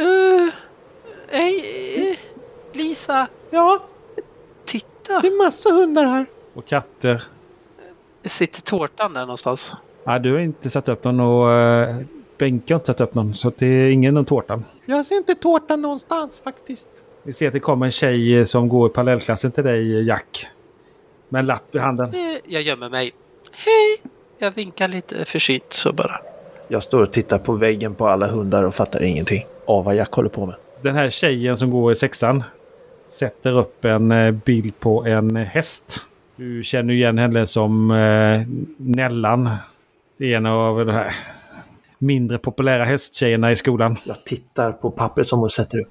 [SPEAKER 4] eh, nej, eh, Lisa!
[SPEAKER 8] Mm. Ja,
[SPEAKER 4] Titta!
[SPEAKER 8] det är massa hundar här.
[SPEAKER 2] Och katter.
[SPEAKER 4] Sitter tårtan där någonstans?
[SPEAKER 2] Nej, du har inte satt upp någon och eh, Benke har inte satt upp någon. Så det är ingen om tårtan.
[SPEAKER 8] Jag ser inte tårtan någonstans faktiskt.
[SPEAKER 2] Vi ser att det kommer en tjej eh, som går i parallellklassen till dig, eh, Jack. Med en lapp i handen.
[SPEAKER 4] Eh, Jag gömmer mig. Hej! Jag vinkar lite försynt så bara.
[SPEAKER 5] Jag står och tittar på väggen på alla hundar och fattar ingenting av vad Jack håller på med.
[SPEAKER 2] Den här tjejen som går i sexan sätter upp en eh, bild på en häst. Du känner ju igen henne som eh, Nellan. Det är en av de här mindre populära hästtjejerna i skolan.
[SPEAKER 3] Jag tittar på pappret som hon sätter upp.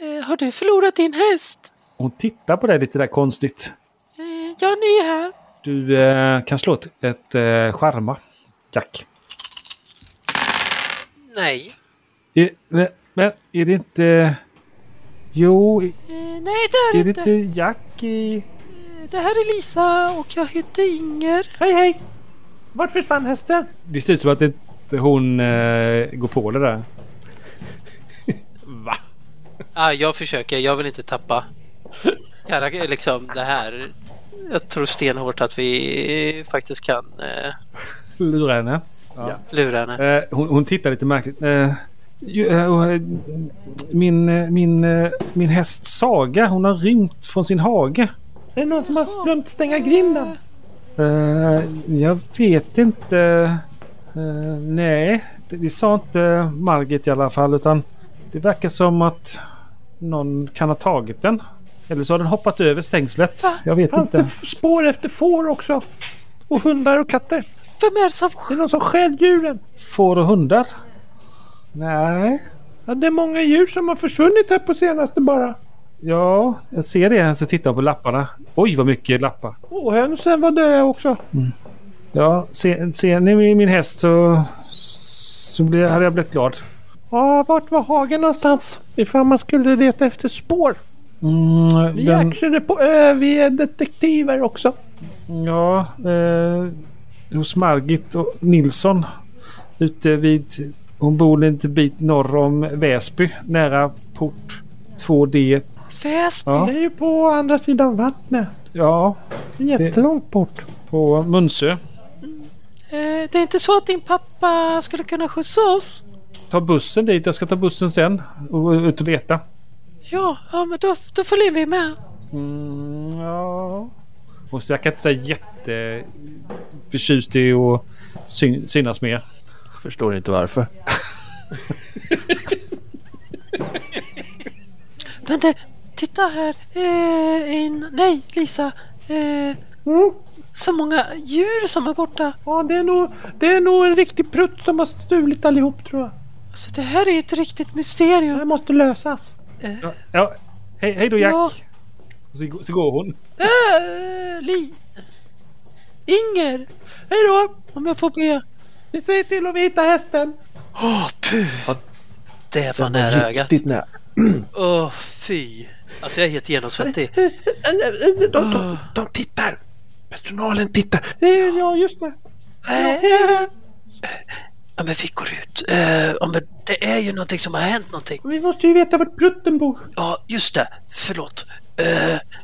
[SPEAKER 4] Eh, Har du förlorat din häst?
[SPEAKER 2] Hon tittar på dig lite där konstigt.
[SPEAKER 4] Eh, Jag är ny här.
[SPEAKER 2] Du eh, kan slå ett, ett eh, charma, Jack.
[SPEAKER 4] Nej.
[SPEAKER 2] I, men, men är det inte... Jo, i-
[SPEAKER 4] Eh, Nej, det
[SPEAKER 2] är
[SPEAKER 4] är
[SPEAKER 2] det
[SPEAKER 4] inte.
[SPEAKER 2] inte Jack i...
[SPEAKER 4] Eh, Det här är Lisa och jag heter Inger.
[SPEAKER 8] Hej hej! Vart försvann hästen?
[SPEAKER 2] Det ser ut som att inte hon eh, går på det där.
[SPEAKER 9] Va?
[SPEAKER 4] Ah, jag försöker, jag vill inte tappa. Karak liksom det här. Jag tror stenhårt att vi eh, faktiskt kan eh,
[SPEAKER 2] Lura henne.
[SPEAKER 4] lura henne.
[SPEAKER 2] Eh, hon, hon tittar lite märkligt. Eh, ju- eh, och, eh, min, eh, min, eh, min häst Saga, hon har rymt från sin hage.
[SPEAKER 8] Är det någon som har glömt stänga grinden?
[SPEAKER 2] Eh, jag vet inte. Eh, nej, det, det sa inte Margit i alla fall. Utan det verkar som att någon kan ha tagit den. Eller så har den hoppat över stängslet. Jag vet
[SPEAKER 8] Fanns
[SPEAKER 2] inte.
[SPEAKER 8] det f- spår efter får också? Och hundar och katter?
[SPEAKER 4] Vem är det som
[SPEAKER 8] Det är någon som stjäl djuren?
[SPEAKER 2] Får och hundar? Nej.
[SPEAKER 8] Ja, det är många djur som har försvunnit här på senaste bara.
[SPEAKER 2] Ja, jag ser det. Så tittar jag på lapparna. Oj, vad mycket lappar.
[SPEAKER 8] Och hönsen var döda också.
[SPEAKER 2] Ja, ser, ser ni min- min häst så, så blir, hade jag blivit glad.
[SPEAKER 8] Ja, vart var hagen någonstans? Ifall man skulle leta efter spår.
[SPEAKER 2] Mm,
[SPEAKER 8] Vi är
[SPEAKER 2] den-
[SPEAKER 8] action på
[SPEAKER 3] eh,
[SPEAKER 8] ö, vi är detektiver också.
[SPEAKER 2] Ja, eh, hos Margit och Nilsson. Ute vid... Hon bor en liten bit norr om Väsby, nära port 2D.
[SPEAKER 4] Väsby?
[SPEAKER 2] Ja.
[SPEAKER 8] Det är ju på andra sidan vattnet.
[SPEAKER 2] Ja,
[SPEAKER 8] Det är Jättelångt bort.
[SPEAKER 2] på Munsö.
[SPEAKER 4] Eh, det är inte så att din pappa skulle kunna skjutsa oss?
[SPEAKER 2] Ta bussen dit. Jag ska ta bussen sen och ut och leta.
[SPEAKER 4] Ja, ja men då, då följer vi med.
[SPEAKER 2] Mm, ja. Och så jag kan inte säga jätteförtjust i att syn- synas mer.
[SPEAKER 5] Förstår inte varför.
[SPEAKER 4] Men det, titta här. Eh, in, nej, Lisa. Eh,
[SPEAKER 8] Mm.
[SPEAKER 4] så många djur som är borta.
[SPEAKER 8] Ja, det är, nog, det är nog en riktig prutt som har stulit allihop tror jag.
[SPEAKER 4] Alltså det här är ju ett riktigt mysterium.
[SPEAKER 8] Det här måste lösas.
[SPEAKER 2] Ja, ja. Hej, hej då Jack!
[SPEAKER 4] Ja.
[SPEAKER 2] Och så, så går hon.
[SPEAKER 4] Äh, li... Inger!
[SPEAKER 8] Hej då!
[SPEAKER 4] Om jag får be.
[SPEAKER 8] Vi säger till om vi hittar hästen.
[SPEAKER 4] Åh, puh! Det var nära ögat.
[SPEAKER 5] Riktigt nära.
[SPEAKER 4] Åh, fy! Alltså jag är helt <laughs> genomsvettig.
[SPEAKER 8] De, de, de tittar! Personalen tittar. Eh, Ja, just det. Eh,
[SPEAKER 4] Ja, men vi går ut. Eh, ja, men det är ju någonting som har hänt någonting.
[SPEAKER 8] Vi måste ju veta vart prutten bor.
[SPEAKER 4] Ja, just det. Förlåt. Eh,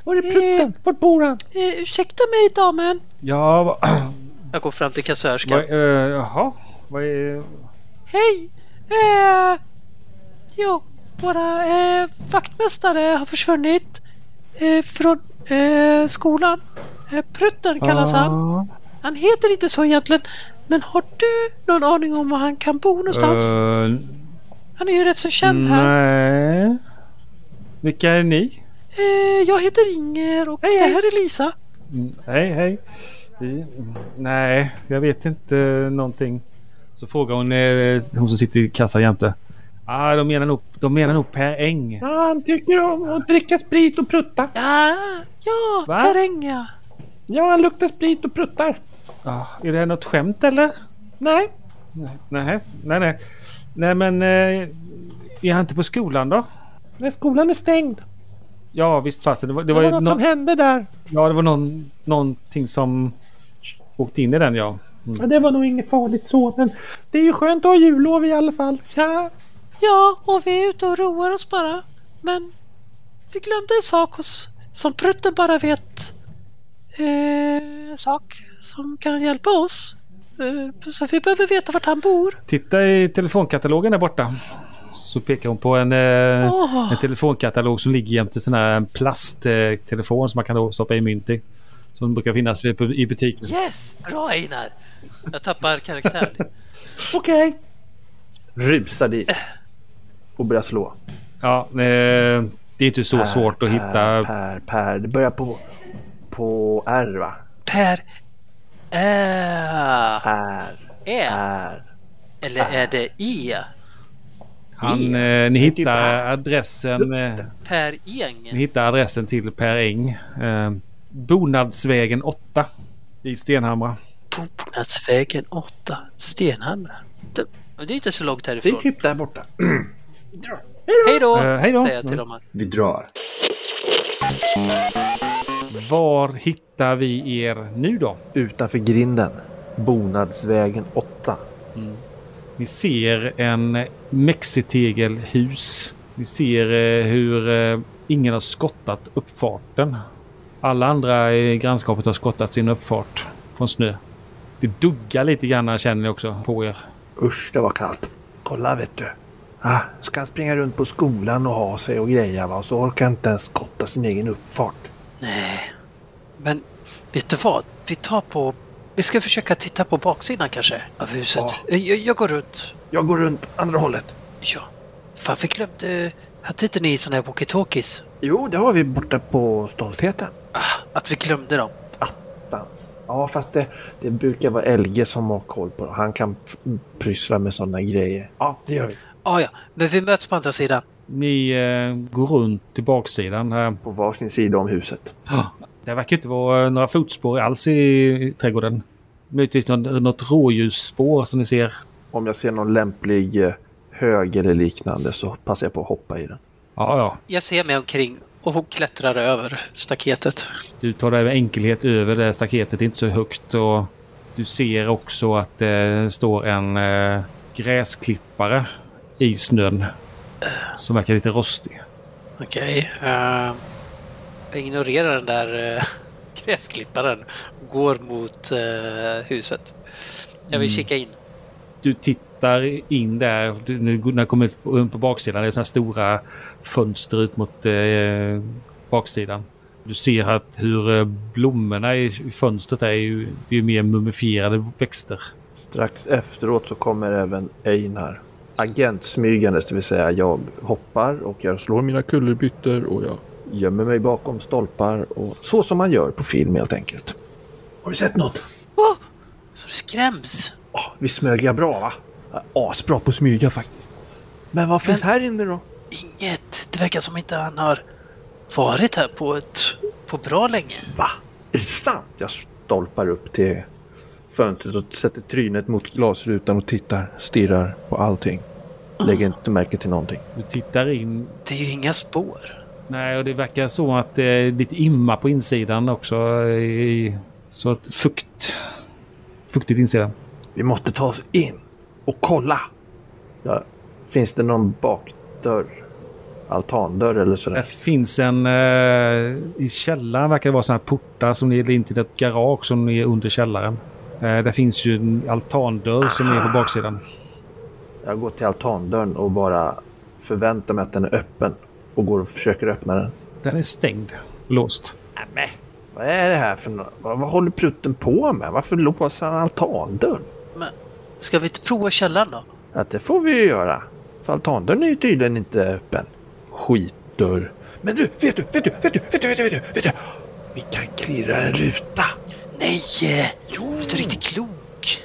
[SPEAKER 8] Var är prutten? Vart bor han?
[SPEAKER 4] eh, ursäkta mig damen.
[SPEAKER 2] Ja, va-
[SPEAKER 8] <clears throat>
[SPEAKER 4] Jag går fram till kassörskan.
[SPEAKER 2] Vad, eh, jaha, vad är...
[SPEAKER 4] Hej! Eh, jo, våra eh, vaktmästare har försvunnit eh, från eh, skolan. Eh, Prutten kallas han. Han heter inte så egentligen. Men har du någon aning om var han kan bo någonstans?
[SPEAKER 2] Eh, Mm.
[SPEAKER 4] han är ju rätt så känd här.
[SPEAKER 2] Nej. Vilka är ni?
[SPEAKER 4] Eh, jag heter Inger och det här är Lisa.
[SPEAKER 2] Mm, Hej, hej. Vi- mm, Nej, jag vet inte någonting. Så frågar hon, eh, hon som sitter i kassan jämte. Ah, de menar nog, de menar nog Per Eng.
[SPEAKER 8] Ja, han tycker om att dricka sprit och prutta.
[SPEAKER 4] Ja, ja,
[SPEAKER 2] Va?
[SPEAKER 4] Karenga.
[SPEAKER 8] Ja, han luktar sprit och pruttar.
[SPEAKER 2] Ah, är det här något skämt eller?
[SPEAKER 8] Nej,
[SPEAKER 2] Nej, nej, nej. Nej, nej men eh, är han inte på skolan då?
[SPEAKER 8] nej, skolan är stängd.
[SPEAKER 2] Ja, visst fasen. Det var, det
[SPEAKER 8] Det
[SPEAKER 2] var,
[SPEAKER 8] var,
[SPEAKER 2] ju
[SPEAKER 8] något
[SPEAKER 2] nå-
[SPEAKER 8] som hände där.
[SPEAKER 2] Ja, det var någon, någonting som åkte in i den ja. Mm.
[SPEAKER 8] Men Mm. det var nog inget farligt så, men det är ju skönt att ha jullov i alla fall. Ja,
[SPEAKER 4] Ja, och vi är ute och roar oss bara. Men vi glömde en sak hos, som Prutten bara vet. Eh, en sak som kan hjälpa oss. Eh, så vi behöver veta vart han bor.
[SPEAKER 2] Titta i telefonkatalogen där borta. Så pekar hon på en, eh,
[SPEAKER 4] Åh,
[SPEAKER 2] en telefonkatalog som ligger jämte sån här en plasttelefon som man kan då stoppa i mynt i. Som brukar finnas i i butiken.
[SPEAKER 4] yes! Bra Einar! Jag tappar karaktär.
[SPEAKER 8] <laughs> okej.
[SPEAKER 3] Rusar dit och börjar slå.
[SPEAKER 2] Ja, eh, det är inte så
[SPEAKER 3] Per,
[SPEAKER 2] svårt att
[SPEAKER 3] per,
[SPEAKER 2] hitta.
[SPEAKER 3] Per, per. Det börjar på, på R va?
[SPEAKER 4] Per. Ä.
[SPEAKER 3] Per,
[SPEAKER 4] Ä.
[SPEAKER 3] per.
[SPEAKER 4] Eller är det I?
[SPEAKER 2] Han, eh, ni
[SPEAKER 3] Det är typ
[SPEAKER 2] hittar
[SPEAKER 3] här.
[SPEAKER 2] adressen. Eh,
[SPEAKER 4] Per
[SPEAKER 2] Ni
[SPEAKER 4] Eng.
[SPEAKER 2] hittar adressen till Per Eng. Eh, Bonadsvägen 8 i Stenhamra.
[SPEAKER 4] Bonnadsvägen 8. Stenhamra. Det, det är inte så långt
[SPEAKER 3] Det är
[SPEAKER 4] härifrån.
[SPEAKER 3] typ där borta.
[SPEAKER 4] <clears throat> Hej då!
[SPEAKER 2] Eh, hej då.
[SPEAKER 4] Säger jag till dem. här.
[SPEAKER 3] Vi drar.
[SPEAKER 2] Var hittar vi er nu då?
[SPEAKER 3] Utanför grinden. Bonadsvägen 8.
[SPEAKER 2] Ni ser en mexitegelhus. Ni ser eh, hur eh, ingen har skottat uppfarten. Alla andra i grannskapet har skottat sin uppfart från snö. Det duggar lite grann känner ni också på er.
[SPEAKER 3] Usch, det var kallt. Kolla vet du. Ah, ska han springa runt på skolan och ha sig och greja va? Och så orkar han inte ens skotta sin egen uppfart.
[SPEAKER 4] Nej. Men vet du vad? Vi tar på... Vi ska försöka titta på baksidan kanske av huset.
[SPEAKER 3] Ja.
[SPEAKER 4] Eh, Jag, jag går runt.
[SPEAKER 3] Jag går runt andra hållet.
[SPEAKER 4] Ja. Fan, vi glömde... Hade inte ni såna här walkie-talkies?
[SPEAKER 3] Jo, det har vi borta på stoltheten.
[SPEAKER 4] Ah, att vi glömde dem.
[SPEAKER 3] Dans. Ja, fast det, det brukar vara Elge som har koll på det. Han kan p- pyssla med sådana grejer. Ja, det gör vi.
[SPEAKER 4] Ah, ja, men vi möts på andra sidan.
[SPEAKER 2] Ni eh, går runt till baksidan. Här.
[SPEAKER 3] På varsin sida om huset.
[SPEAKER 2] Det verkar inte vara eh, några fotspår alls i trädgården. Möjligtvis något, något rådjursspår som ni ser.
[SPEAKER 3] Om jag ser någon lämplig eh, hög eller liknande så passar jag på att hoppa i den.
[SPEAKER 2] Ja, ja.
[SPEAKER 4] Jag ser mig omkring och klättrar över staketet.
[SPEAKER 2] Du tar dig med enkelhet över det här staketet. Det är inte så högt. Och du ser också att det står en eh, gräsklippare i snön. Som verkar lite rostig.
[SPEAKER 4] Okej. ehm, jag ignorerar den där eh, <laughs> gräsklipparen. Går mot eh, huset. Jag
[SPEAKER 2] Mm.
[SPEAKER 4] vill kika in.
[SPEAKER 2] Du tittar in där. Du, nu, när du kommer ut på, på baksidan. Det är sådana stora fönster ut mot eh, baksidan. Du ser att hur eh, blommorna i i fönstret är ju, det är ju mer mumifierade växter.
[SPEAKER 3] Strax efteråt så kommer även Einar. Agent smygandes, det vill säga jag hoppar och jag slår mina kullerbyttor och jag gömmer mig bakom stolpar och så som man gör på film helt enkelt. Har du sett något?
[SPEAKER 4] Oh! Så du skräms.
[SPEAKER 3] Oh, vi smög jag bra va? Ja, Asbra på att smyga faktiskt. Men vad finns här inne då?
[SPEAKER 4] Inget. Det verkar som inte han har varit här på ett... på bra länge.
[SPEAKER 3] Va? Är det sant? Jag stolpar upp till fönstret och sätter trynet mot glasrutan och tittar, stirrar på allting. Lägger inte märke till någonting.
[SPEAKER 2] Du tittar in
[SPEAKER 4] Det är ju inga spår.
[SPEAKER 2] Nej, och det verkar så att det är lite imma på insidan också. eh, I, så att fukt... Fuktigt insidan.
[SPEAKER 3] Vi måste ta oss in och kolla. Ja, finns det någon bakdörr? Altandörr eller
[SPEAKER 2] Det
[SPEAKER 3] sådär?
[SPEAKER 2] finns en... Eh, I källaren verkar det vara sådana här portar som leder in till ett garage som är under källaren. Eh, det finns ju en altandörr som är på baksidan.
[SPEAKER 3] Jag går till altandörren och bara förväntar mig att den är öppen och går och försöker öppna den.
[SPEAKER 2] Den är stängd och låst.
[SPEAKER 3] Nämen, vad är det här för nå- vad, vad håller prutten på med? Varför låser han altandörren?
[SPEAKER 4] Ska vi inte prova källaren då?
[SPEAKER 3] Att det får vi ju göra. För altandörren är ju tydligen inte öppen. Skitdörr. Men du, vet du, vet du, vet du, vet du, vet du, vet du, vet du. Vi kan klirra en ruta.
[SPEAKER 4] Nej!
[SPEAKER 3] Jo!
[SPEAKER 4] Du är inte riktigt klok.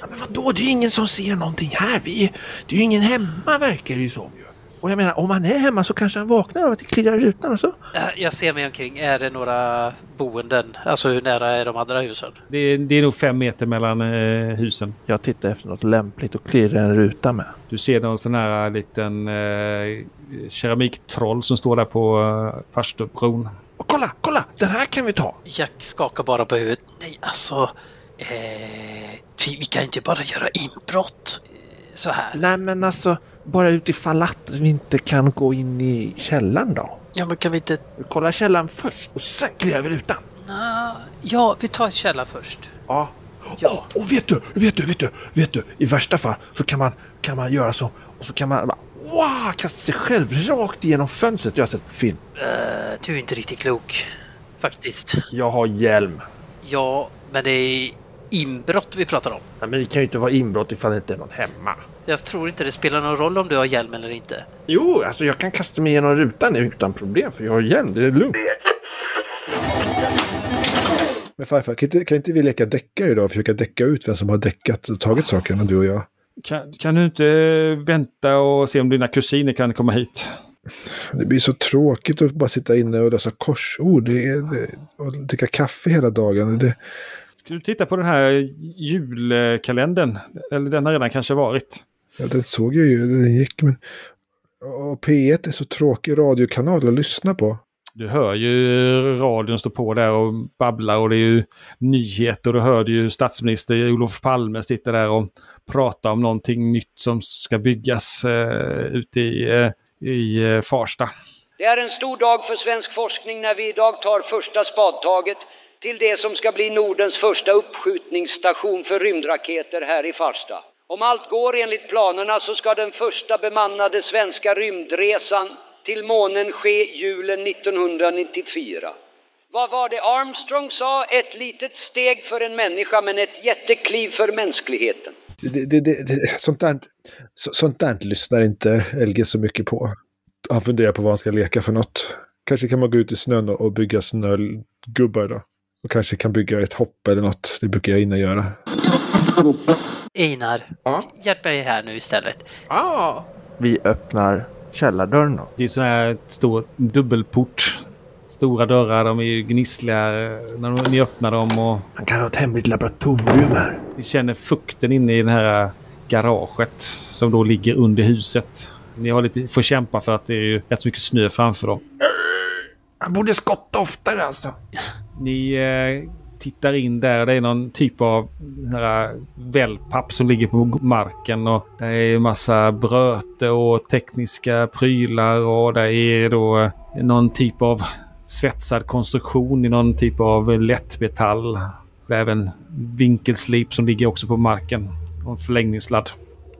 [SPEAKER 3] Ja, men vadå, det är ju ingen som ser någonting här. Vi, det är ju ingen hemma verkar det ju som ju. Och jag menar, om han är hemma så kanske han vaknar av att det klirrar i rutan och så.
[SPEAKER 4] Äh, Jag ser mig omkring. Är det några boenden? Alltså hur nära är de andra husen?
[SPEAKER 2] Det är, det är nog fem meter mellan eh, husen.
[SPEAKER 3] Jag tittar efter något lämpligt att klirra en ruta med.
[SPEAKER 2] Du ser någon sån här liten eh, keramiktroll som står där på eh, farstubron.
[SPEAKER 3] Och kolla, kolla! Den här kan vi ta!
[SPEAKER 4] Jack skakar bara på huvudet. Nej, alltså. Eh, vi, vi kan inte bara göra inbrott eh, så här.
[SPEAKER 3] Nej men alltså, bara utifall att vi inte kan gå in i källaren då.
[SPEAKER 4] Ja, men kan vi inte...
[SPEAKER 3] Vi kollar källaren först och sen klirrar vi rutan.
[SPEAKER 4] Nå, ja, vi tar källa först.
[SPEAKER 3] Ja.
[SPEAKER 4] Ja.
[SPEAKER 3] Åh, och vet du, vet du, vet du, vet du. I värsta fall så kan man, kan man göra så. Och så kan man bara, wow, kasta sig själv rakt igenom fönstret. Jag har sett film.
[SPEAKER 4] Eh, du är inte riktigt klok. Faktiskt.
[SPEAKER 3] Jag har hjälm.
[SPEAKER 4] Ja, men det är inbrott vi pratar om.
[SPEAKER 3] Nej, men det kan ju inte vara inbrott ifall det inte är någon hemma.
[SPEAKER 4] Jag tror inte det spelar någon roll om du har hjälm eller inte.
[SPEAKER 3] Jo, alltså jag kan kasta mig igenom rutan nu utan problem för jag har hjälm. Det är lugnt.
[SPEAKER 6] Men farfar, kan inte, kan inte vi leka decka idag och försöka decka ut vem som har deckat och tagit sakerna, du och jag?
[SPEAKER 2] Kan, kan du inte eh, vänta och se om dina kusiner kan komma hit?
[SPEAKER 6] Det blir så tråkigt att bara sitta inne och lösa korsord det är, det, och dricka kaffe hela dagen. Det,
[SPEAKER 2] Ska du titta på den här julkalendern? Eller den har redan kanske varit.
[SPEAKER 6] ja, den såg jag ju, den gick. Men, och P1 är så tråkig radiokanal att lyssna på.
[SPEAKER 2] Du hör ju radion stå på där och babblar och det är ju nyheter. Du hörde ju statsminister Olof Palme sitta där och prata om någonting nytt som ska byggas eh, ute i, eh, i eh, Farsta.
[SPEAKER 10] Det är en stor dag för svensk forskning när vi idag tar första spadtaget till det som ska bli Nordens första uppskjutningsstation för rymdraketer här i Farsta. Om allt går enligt planerna så ska den första bemannade svenska rymdresan till månen ske julen 1994. Vad var det Armstrong sa? Ett litet steg för en människa men ett jättekliv för mänskligheten.
[SPEAKER 6] Det, det, det, det, sånt, där, så, sånt där lyssnar inte LG så mycket på. Han funderar på vad han ska leka för något. Kanske kan man gå ut i snön och och bygga snögubbar då. Och kanske kan bygga ett hopp eller något. Det brukar jag innan göra.
[SPEAKER 4] Einar,
[SPEAKER 3] Ja. Ah.
[SPEAKER 4] hjälp mig här nu istället.
[SPEAKER 3] Ja. Vi öppnar källardörren då.
[SPEAKER 2] Det är sån här stor dubbelport. Stora dörrar, de är ju gnissliga eh, när de- ni öppnar dem och
[SPEAKER 3] Han kan ha ett hemligt laboratorium här.
[SPEAKER 2] ni känner fukten inne i det här garaget som då ligger under huset. Ni har lite, får kämpa för att det är ju rätt så mycket snö framför dem.
[SPEAKER 3] Han borde skotta oftare alltså.
[SPEAKER 2] Ni eh, tittar in där. Det är någon typ av den här eh, wellpapp som ligger på marken. Och det är en massa bröte och tekniska prylar. Och det är då eh, någon typ av svetsad konstruktion i någon typ av lättmetall. Det är även vinkelslip som ligger också på marken. Och en förlängningssladd.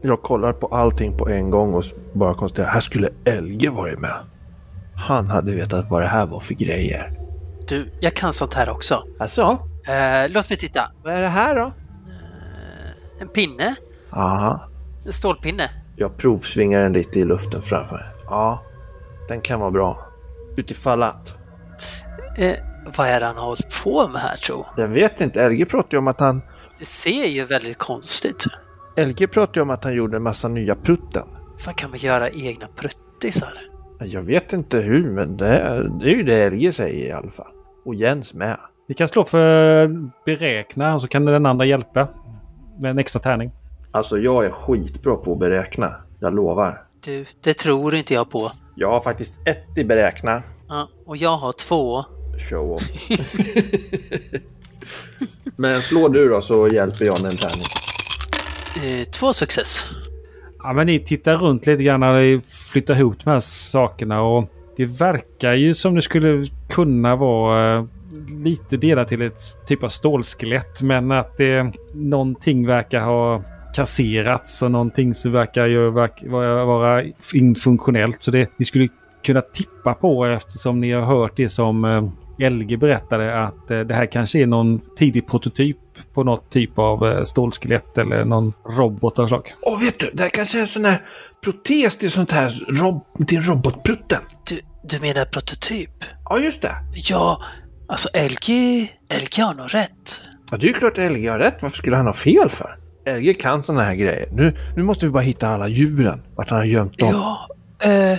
[SPEAKER 3] Jag kollar på allting på en gång och s- bara konstaterar här skulle Elge varit med. Han hade vetat vad det här var för grejer.
[SPEAKER 4] Du, jag kan sånt här också.
[SPEAKER 3] Alltså,
[SPEAKER 4] Eh, låt mig titta. Eh,
[SPEAKER 3] vad är det här då?
[SPEAKER 4] En pinne?
[SPEAKER 3] Aha.
[SPEAKER 4] En stålpinne?
[SPEAKER 3] Jag provsvingar den lite i luften framför mig. Ja, den kan vara bra. Utifall att.
[SPEAKER 4] Eh, vad är det han har hållit på med här tro?
[SPEAKER 3] Jag vet inte, Elge pratade ju om att han...
[SPEAKER 4] Det ser ju väldigt konstigt.
[SPEAKER 3] Elge pratade ju om att han gjorde en massa nya prutten.
[SPEAKER 4] Vad kan man göra egna pruttisar?
[SPEAKER 3] Jag vet inte hur, men det är, det är ju det Elge säger i alla fall. Och Jens med.
[SPEAKER 2] Ni kan slå för beräkna och så kan den andra hjälpa. Med en extra tärning.
[SPEAKER 3] Alltså, jag är skitbra på att beräkna. Jag lovar.
[SPEAKER 4] Du, det tror inte jag på.
[SPEAKER 3] Jag har faktiskt ett i beräkna.
[SPEAKER 4] Ja, och jag har två.
[SPEAKER 3] Show off. men slå du då så hjälper jag med en tärning.
[SPEAKER 4] Eh, två success.
[SPEAKER 2] Ja, men ni tittar runt lite grann när ni flyttar ihop de här sakerna och det verkar ju som det skulle kunna vara eh, lite delat till ett typ av stålskelett men att det någonting verkar ha kasserats och någonting som verkar ju verk, vara vara infunktionellt. Så det ni skulle kunna tippa på eftersom ni har hört det som eh, LG berättade att eh, det här kanske är någon tidig prototyp på något typ av eh, stålskelett eller någon robot av slag.
[SPEAKER 3] Åh, vet du? Det här kanske är en sån här protes till sånt här rob- till robotprutten.
[SPEAKER 4] Du, du menar prototyp?
[SPEAKER 3] Ja, just det.
[SPEAKER 4] Ja, alltså LG, LG har nog rätt.
[SPEAKER 3] Ja, det är ju klart LG har rätt. Varför skulle han ha fel för? LG kan såna här grejer. Nu, nu måste vi bara hitta alla djuren. Vart han har gömt dem.
[SPEAKER 4] <laughs> Ja, Eh, eh,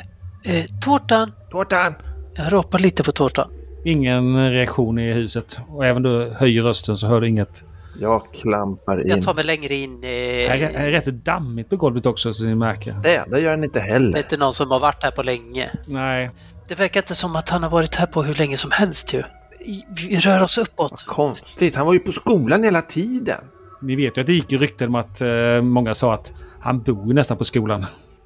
[SPEAKER 4] tårtan!
[SPEAKER 3] Tårtan!
[SPEAKER 4] Jag ropar lite på tårtan.
[SPEAKER 2] Ingen reaktion i huset. Och även du höjer rösten så hör du inget.
[SPEAKER 3] Jag klampar in.
[SPEAKER 4] Jag tar mig längre in. Eh,
[SPEAKER 2] Här är, här är rätt dammigt på golvet också så ni märker.
[SPEAKER 3] Städa gör han inte
[SPEAKER 4] Det är
[SPEAKER 3] heller.
[SPEAKER 4] inte någon som har varit här på länge.
[SPEAKER 2] Nej.
[SPEAKER 4] Det verkar inte som att han har varit här på hur länge som helst ju. I- Vi rör oss uppåt.
[SPEAKER 3] Konstigt, han var ju på skolan hela tiden.
[SPEAKER 2] Ni vet ju att det gick rykten om att eh, många sa att han bor ju nästan på skolan.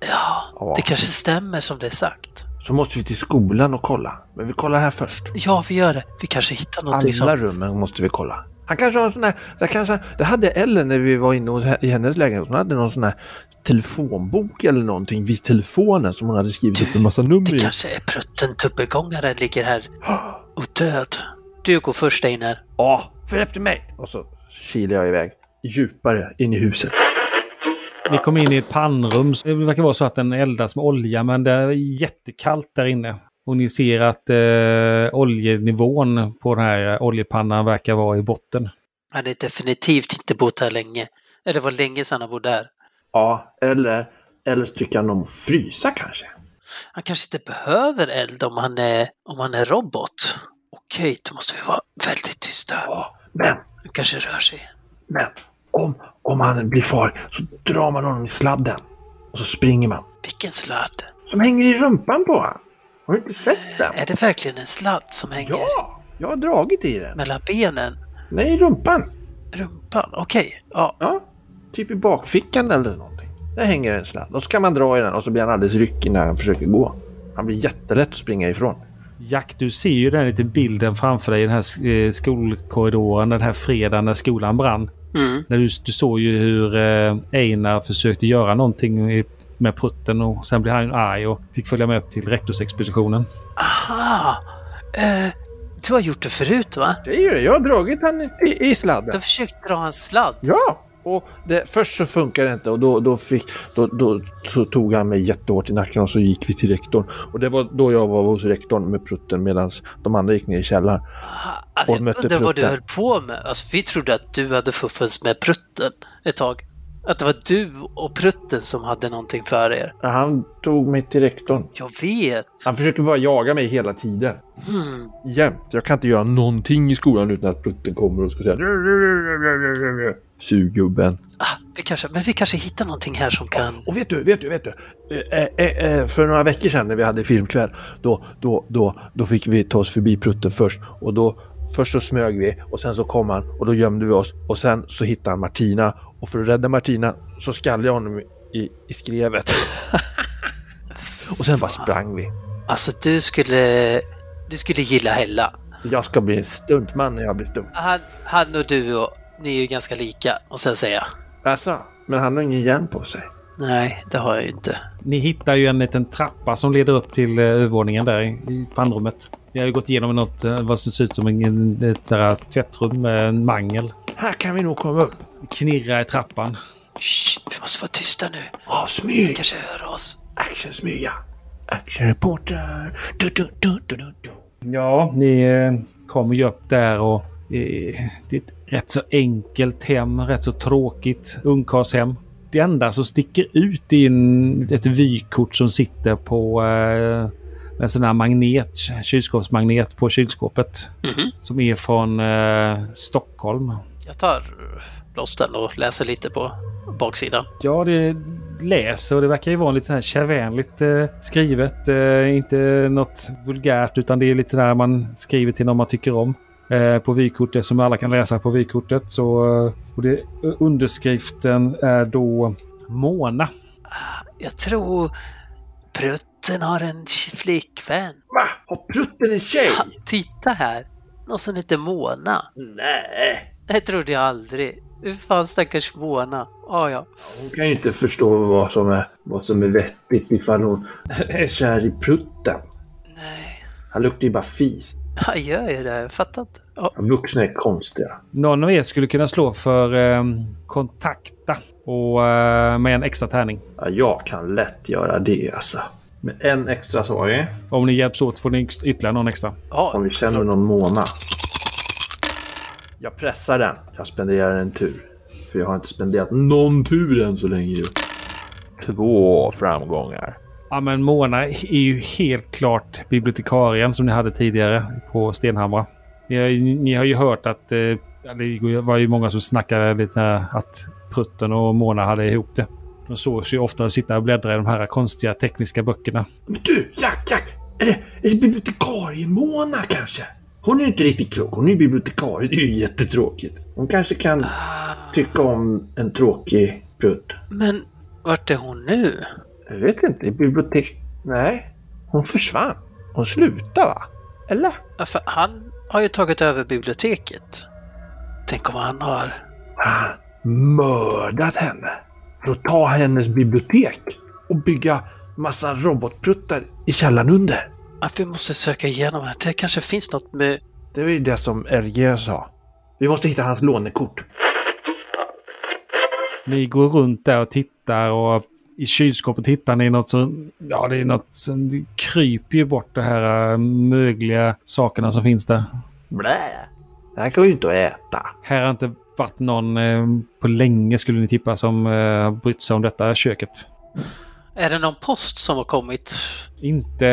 [SPEAKER 4] Ja,
[SPEAKER 3] Ja,
[SPEAKER 4] det kanske stämmer som det är sagt.
[SPEAKER 3] så måste vi till skolan och kolla. Men vi kollar här först.
[SPEAKER 4] Ja, vi gör det. Vi kanske hittar någonting
[SPEAKER 3] Alla
[SPEAKER 4] som...
[SPEAKER 3] rummen måste vi kolla. Han kanske har en sån här, så här kanske, det hade Ellen när vi var inne hos he- i hennes lägenhet. Hon hade någon sån här telefonbok eller någonting vid telefonen som hon hade skrivit upp en massa nummer
[SPEAKER 4] Det
[SPEAKER 3] i.
[SPEAKER 4] kanske är pruttentuppelgångaren ligger
[SPEAKER 3] <gasps>
[SPEAKER 4] här och död. Du går först in här.
[SPEAKER 3] Ja, för efter mig! Och så kilar jag iväg djupare in i huset.
[SPEAKER 2] Ni kom in i ett pannrum. Det verkar vara så att den eldas med olja men det är jättekallt där inne. Och ni ser att eh, oljenivån på den här eh, oljepannan verkar vara i botten.
[SPEAKER 4] Han är definitivt inte bott här länge. Eller det var länge sedan han bodde här.
[SPEAKER 3] Ja, eh, eller, eller så tycker han om att frysa kanske.
[SPEAKER 4] Han kanske inte behöver eld om han är, om han är robot. Okej, då måste vi vara väldigt tysta.
[SPEAKER 3] Ja, men,
[SPEAKER 4] Han kanske rör sig.
[SPEAKER 3] men om, om han blir farlig så drar man honom i sladden. Och så springer man.
[SPEAKER 4] Vilken sladd?
[SPEAKER 3] Som hänger i rumpan på honom. Har du inte sett den?
[SPEAKER 4] Är det verkligen en sladd som hänger
[SPEAKER 3] Ja! Jag har dragit i den.
[SPEAKER 4] mellan benen?
[SPEAKER 3] Nej, i rumpan.
[SPEAKER 4] Rumpan? Okej, ja.
[SPEAKER 3] Ja, typ i bakfickan eller någonting. Där hänger en sladd. Och så kan man dra i den och så blir han alldeles ryckig när han försöker gå. Han blir jättelätt att springa ifrån.
[SPEAKER 2] Jack, du ser ju den lite bilden framför dig i den här eh, skolkorridoren den här fredagen när skolan brann.
[SPEAKER 4] Mm.
[SPEAKER 2] När du, du såg ju hur eh, Einar försökte göra någonting i, med prutten och sen blev han ju arg och fick följa med upp till rektorsexpeditionen.
[SPEAKER 4] Aha! Eh, du har gjort det förut va?
[SPEAKER 3] Det är ju, jag har dragit han i, i sladden.
[SPEAKER 4] Du har försökt dra en sladd?
[SPEAKER 3] Ja! Och det, först så funkade det inte och då, då, fick, då, då så tog han mig jättehårt i nacken och så gick vi till rektorn. Och det var då jag var hos rektorn med prutten medan de andra gick ner i källaren.
[SPEAKER 4] Aha, Alltså,
[SPEAKER 3] Och
[SPEAKER 4] jag
[SPEAKER 3] mötte
[SPEAKER 4] undrar vad du
[SPEAKER 3] prutten.
[SPEAKER 4] höll på med. Alltså, vi trodde att du hade fuffens med prutten ett tag. Att det var du och prutten som hade någonting för er.
[SPEAKER 3] Han tog mig till rektorn.
[SPEAKER 4] Jag vet.
[SPEAKER 3] Han försöker bara jaga mig hela tiden.
[SPEAKER 4] Hmm.
[SPEAKER 3] jämt. Jag kan inte göra någonting i skolan utan att Plutten kommer och ska säga Sugubben.
[SPEAKER 4] Ah, vi kanske, men vi kanske hittar någonting här som kan...
[SPEAKER 3] Och vet du, vet du, vet du. Eh, eh, eh, för några veckor sedan när vi hade filmkväll, då, då, då, då fick vi ta oss förbi Plutten först. Och då, först så smög vi och sen så kom han och då gömde vi oss. Och sen så hittade han Martina. Och för att rädda Martina så skallade jag honom i, i skrevet. <laughs> och sen bara sprang vi.
[SPEAKER 4] Alltså du skulle... Du skulle gilla Hella.
[SPEAKER 3] Jag ska bli en stuntman när jag blir stunt.
[SPEAKER 4] Han, han och du och... Ni är ju ganska lika, och sen säger jag.
[SPEAKER 3] Alltså, men han har ingen järn på sig.
[SPEAKER 4] Nej, det har jag ju inte.
[SPEAKER 2] Ni hittar ju en liten trappa som leder upp till eh, övervåningen där i, i pannrummet. Ni har ju gått igenom något, eh, vad som ser ut som en, en, ett där tvättrum med en mangel.
[SPEAKER 3] Här kan vi nog komma upp.
[SPEAKER 2] Knirra i trappan.
[SPEAKER 4] Shh, vi måste vara tysta nu.
[SPEAKER 3] Ja,
[SPEAKER 4] Vi
[SPEAKER 3] smyg!
[SPEAKER 4] kanske hör oss.
[SPEAKER 3] Actionsmyga! Actionreporter! Du, du, du, du, du, du.
[SPEAKER 2] Ja, ni eh, kommer ju upp där och eh, det är ett rätt så enkelt hem, rätt så tråkigt ungkarlshem. Det enda som sticker ut är en, ett vykort som sitter på eh, en sån här magnet, kylskåpsmagnet på kylskåpet.
[SPEAKER 4] Mhm.
[SPEAKER 2] Som är från eh, Stockholm.
[SPEAKER 4] Jag tar loss den och läser lite på baksidan.
[SPEAKER 2] Ja, det läser och det verkar ju vara lite så här kärvänligt eh, skrivet. Eh, inte något vulgärt utan det är lite sådär man skriver till någon man tycker om. Eh, på vykortet som alla kan läsa på vykortet. Så, eh, och det, underskriften är då Mona.
[SPEAKER 4] Jag tror prutten har en tj- flickvän.
[SPEAKER 3] Va? Har prutten en tjej? Mm.
[SPEAKER 4] Ha, titta här! Någon som heter Mona.
[SPEAKER 3] Nej!
[SPEAKER 4] Det trodde jag aldrig. Hur fan stackars Mona? Ah, ja.
[SPEAKER 3] Hon kan ju inte förstå vad som är, vad som är vettigt ifall hon <laughs> är kär i prutten.
[SPEAKER 4] Nej,
[SPEAKER 3] Han luktar ju bara fis.
[SPEAKER 4] han gör ju det. Jag fattar inte. Ja,
[SPEAKER 3] Vuxna är konstiga.
[SPEAKER 2] Någon av er skulle kunna slå för eh, kontakta och, eh, med en extra tärning.
[SPEAKER 3] Ja, jag kan lätt göra det alltså. Med en extra sa jag.
[SPEAKER 2] Om ni hjälps åt får ni yx- ytterligare någon extra.
[SPEAKER 4] ja.
[SPEAKER 3] Om vi känner någon måna. Jag pressar den. Jag spenderar en tur. För jag har inte spenderat någon tur än så länge ju. Två framgångar.
[SPEAKER 2] Ja, men Mona är ju helt klart bibliotekarien som ni hade tidigare på Stenhamra. Ni har, ju- ni har ju hört att eh, ja, det var ju många som snackade lite här att Prutten och Mona hade ihop det. De sågs ju ofta sitta och bläddra i de här konstiga tekniska böckerna.
[SPEAKER 8] Men du, Jack, Jack! Är det, är det bibliotekariemåna kanske? Hon är ju inte riktigt klok. Hon är ju bibliotekarie. Det är ju jättetråkigt. Hon kanske kan tycka om en tråkig prutt.
[SPEAKER 4] Men vart är hon nu?
[SPEAKER 8] Jag vet inte. I bibliotek... Nej. Hon försvann. Hon slutade va? Eller?
[SPEAKER 4] Ja, för han har ju tagit över biblioteket. Tänk om han har...
[SPEAKER 8] Mördat henne. För att ta hennes bibliotek och bygga massa robotpruttar i källaren under.
[SPEAKER 4] Att vi måste söka igenom här. Det kanske finns något med...
[SPEAKER 8] Det var ju det som RG sa. Vi måste hitta hans lånekort.
[SPEAKER 2] Ni går runt där och tittar och i kylskåpet hittar ni något som... Ja, det är något som det kryper ju bort de här eh, mögliga sakerna som finns där.
[SPEAKER 8] Blä! Det här går ju inte att äta.
[SPEAKER 2] Här har inte varit någon eh, på länge skulle ni tippa som eh, har brytt sig om detta köket.
[SPEAKER 4] Är det någon post som har kommit?
[SPEAKER 2] Inte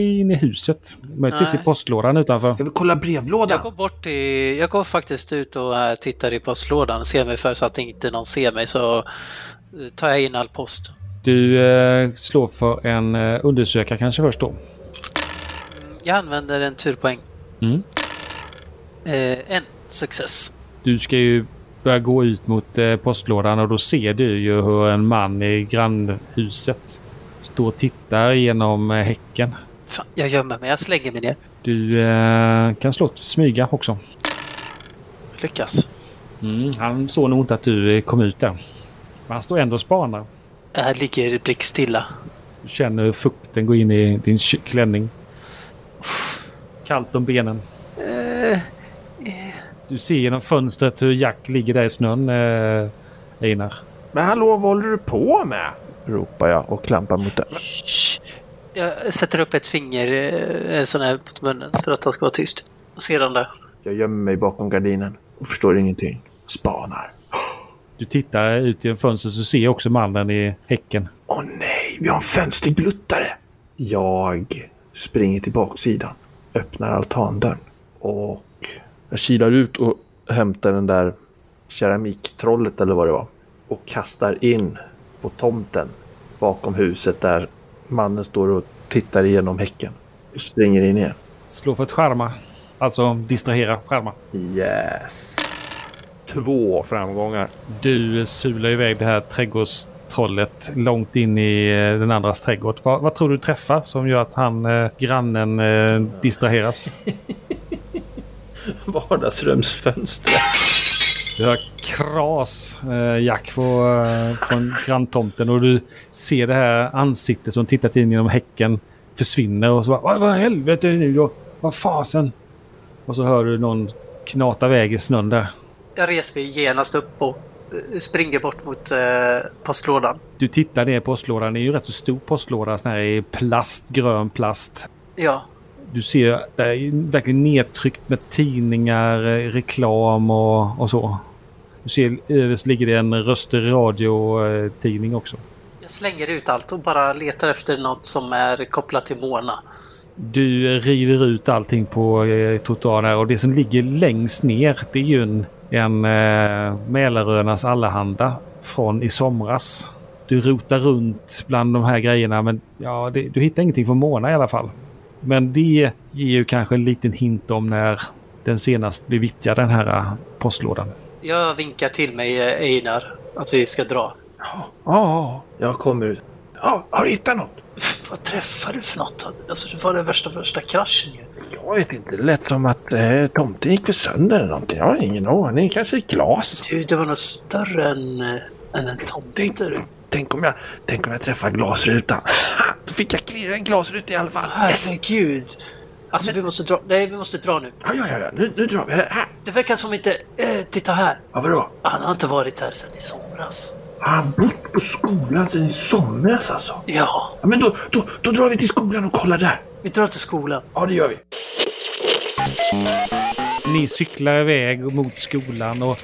[SPEAKER 2] inne i huset. Möjligtvis
[SPEAKER 4] Nej.
[SPEAKER 2] i postlådan utanför.
[SPEAKER 8] Ska vi kolla brevlådan?
[SPEAKER 4] Jag går bort till... Jag går faktiskt ut och äh, tittar i postlådan. Ser mig för så att inte någon ser mig så eh, tar jag in all post.
[SPEAKER 2] Du eh, slår för en eh, undersökare kanske först då.
[SPEAKER 4] Jag använder en turpoäng.
[SPEAKER 2] Mm.
[SPEAKER 4] Eh, en success.
[SPEAKER 2] Du ska ju börja gå ut mot eh, postlådan och då ser du ju hur en man i grannhuset står och tittar genom eh, häcken.
[SPEAKER 4] Fan, jag gömmer mig. Jag slänger mig ner.
[SPEAKER 2] Du eh, kan slå ett smyga också.
[SPEAKER 4] Lyckas.
[SPEAKER 2] Mm, han såg nog inte att du eh, kom ut där. Men han står ändå och spanar.
[SPEAKER 4] Jag ligger blickstilla.
[SPEAKER 2] Du känner hur fukten går in i din ky- klänning. Kallt om benen.
[SPEAKER 4] Eh,
[SPEAKER 2] Du ser genom fönstret hur Jack ligger där i snön, eh, Einar.
[SPEAKER 3] Men hallå, vad håller du på med? Ropar jag och klampar mot den.
[SPEAKER 4] Shh. Jag sätter upp ett finger, eh, en sån här mot munnen för att han ska vara tyst. Sedan där.
[SPEAKER 3] Jag gömmer mig bakom gardinen och förstår ingenting. Spanar.
[SPEAKER 2] Du tittar ut genom fönstret så ser också mannen i häcken.
[SPEAKER 3] Åh nej, vi har en fönstergluttare! Jag springer till baksidan, öppnar altandörren och jag kilar ut och hämtar den där keramiktrollet eller vad det var och kastar in på tomten bakom huset där mannen står och tittar igenom häcken. Och springer in igen.
[SPEAKER 2] Slå för att skärma. Alltså distrahera, skärma.
[SPEAKER 3] eh, <laughs> Yes! Två framgångar.
[SPEAKER 2] Du sular iväg det här trädgårdstrollet långt in i eh, den andras trädgård. Vad, vad tror du träffar som gör att han, eh, grannen, eh, distraheras?
[SPEAKER 3] Vardagsrumsfönstret.
[SPEAKER 2] Du hör kras, eh, Jack, från, eh, från granntomten och du ser det här ansiktet som tittat in genom häcken försvinner och så bara "Vad- Vad i helvete är det nu då? Vad fasen? Och så hör du någon knata iväg i snön där.
[SPEAKER 4] Jag reser mig genast upp och eh, springer bort mot eh, postlådan.
[SPEAKER 2] Du tittar ner i postlådan. Det är ju en rätt så stor postlåda. Sån här i plast, grön plast.
[SPEAKER 4] Ja,
[SPEAKER 2] Du ser att det är verkligen nedtryckt med tidningar, eh, reklam och, och så. Du ser överst ligger det en röster radiotidning också.
[SPEAKER 4] jag slänger ut allt och bara letar efter något som är kopplat till Mona.
[SPEAKER 2] Du river ut allting på eh, trottoaren här och det som ligger längst ner det är ju en, en eh, Mälaröarnas Allehanda från i somras. Du rotar runt bland de här grejerna men ja, det, du hittar ingenting från Mona i alla fall. Men det ger ju kanske en liten hint om när den senast blev vittjad den här eh, postlådan.
[SPEAKER 4] Jag vinkar till mig eh, Einar att vi ska dra.
[SPEAKER 3] Ja, jag kommer ut.
[SPEAKER 8] Ja, har du hittat något?
[SPEAKER 4] Pff, <laughs> Vad träffar du för något? Alltså det var den värsta, värsta kraschen ju.
[SPEAKER 3] Jag vet inte.
[SPEAKER 8] Det lät som att eh, tomten gick för sönder eller någonting. Jag har ingen aning. Kanske ett glas.
[SPEAKER 4] Du, det var något större än, eh, än en tomte du.
[SPEAKER 8] Tänk om jag, tänk om jag träffar glasrutan. Då fick jag klirra en glasruta i alla fall.
[SPEAKER 4] Herregud! Alltså vi måste dra. Nej, vi måste dra nu.
[SPEAKER 8] Ja, ja, ja, ja. Nu, nu drar vi. Här, här.
[SPEAKER 4] Det verkar som inte... Eh, titta här!
[SPEAKER 8] Ja, vadå?
[SPEAKER 4] Han har inte varit här sedan i somras.
[SPEAKER 8] Har han bott på skolan sedan i somras alltså?
[SPEAKER 4] Ja,
[SPEAKER 8] Ja, men då, då, då drar vi till skolan och kollar där.
[SPEAKER 4] vi drar till skolan.
[SPEAKER 8] Ja, det gör vi.
[SPEAKER 2] Ni cyklar iväg mot skolan och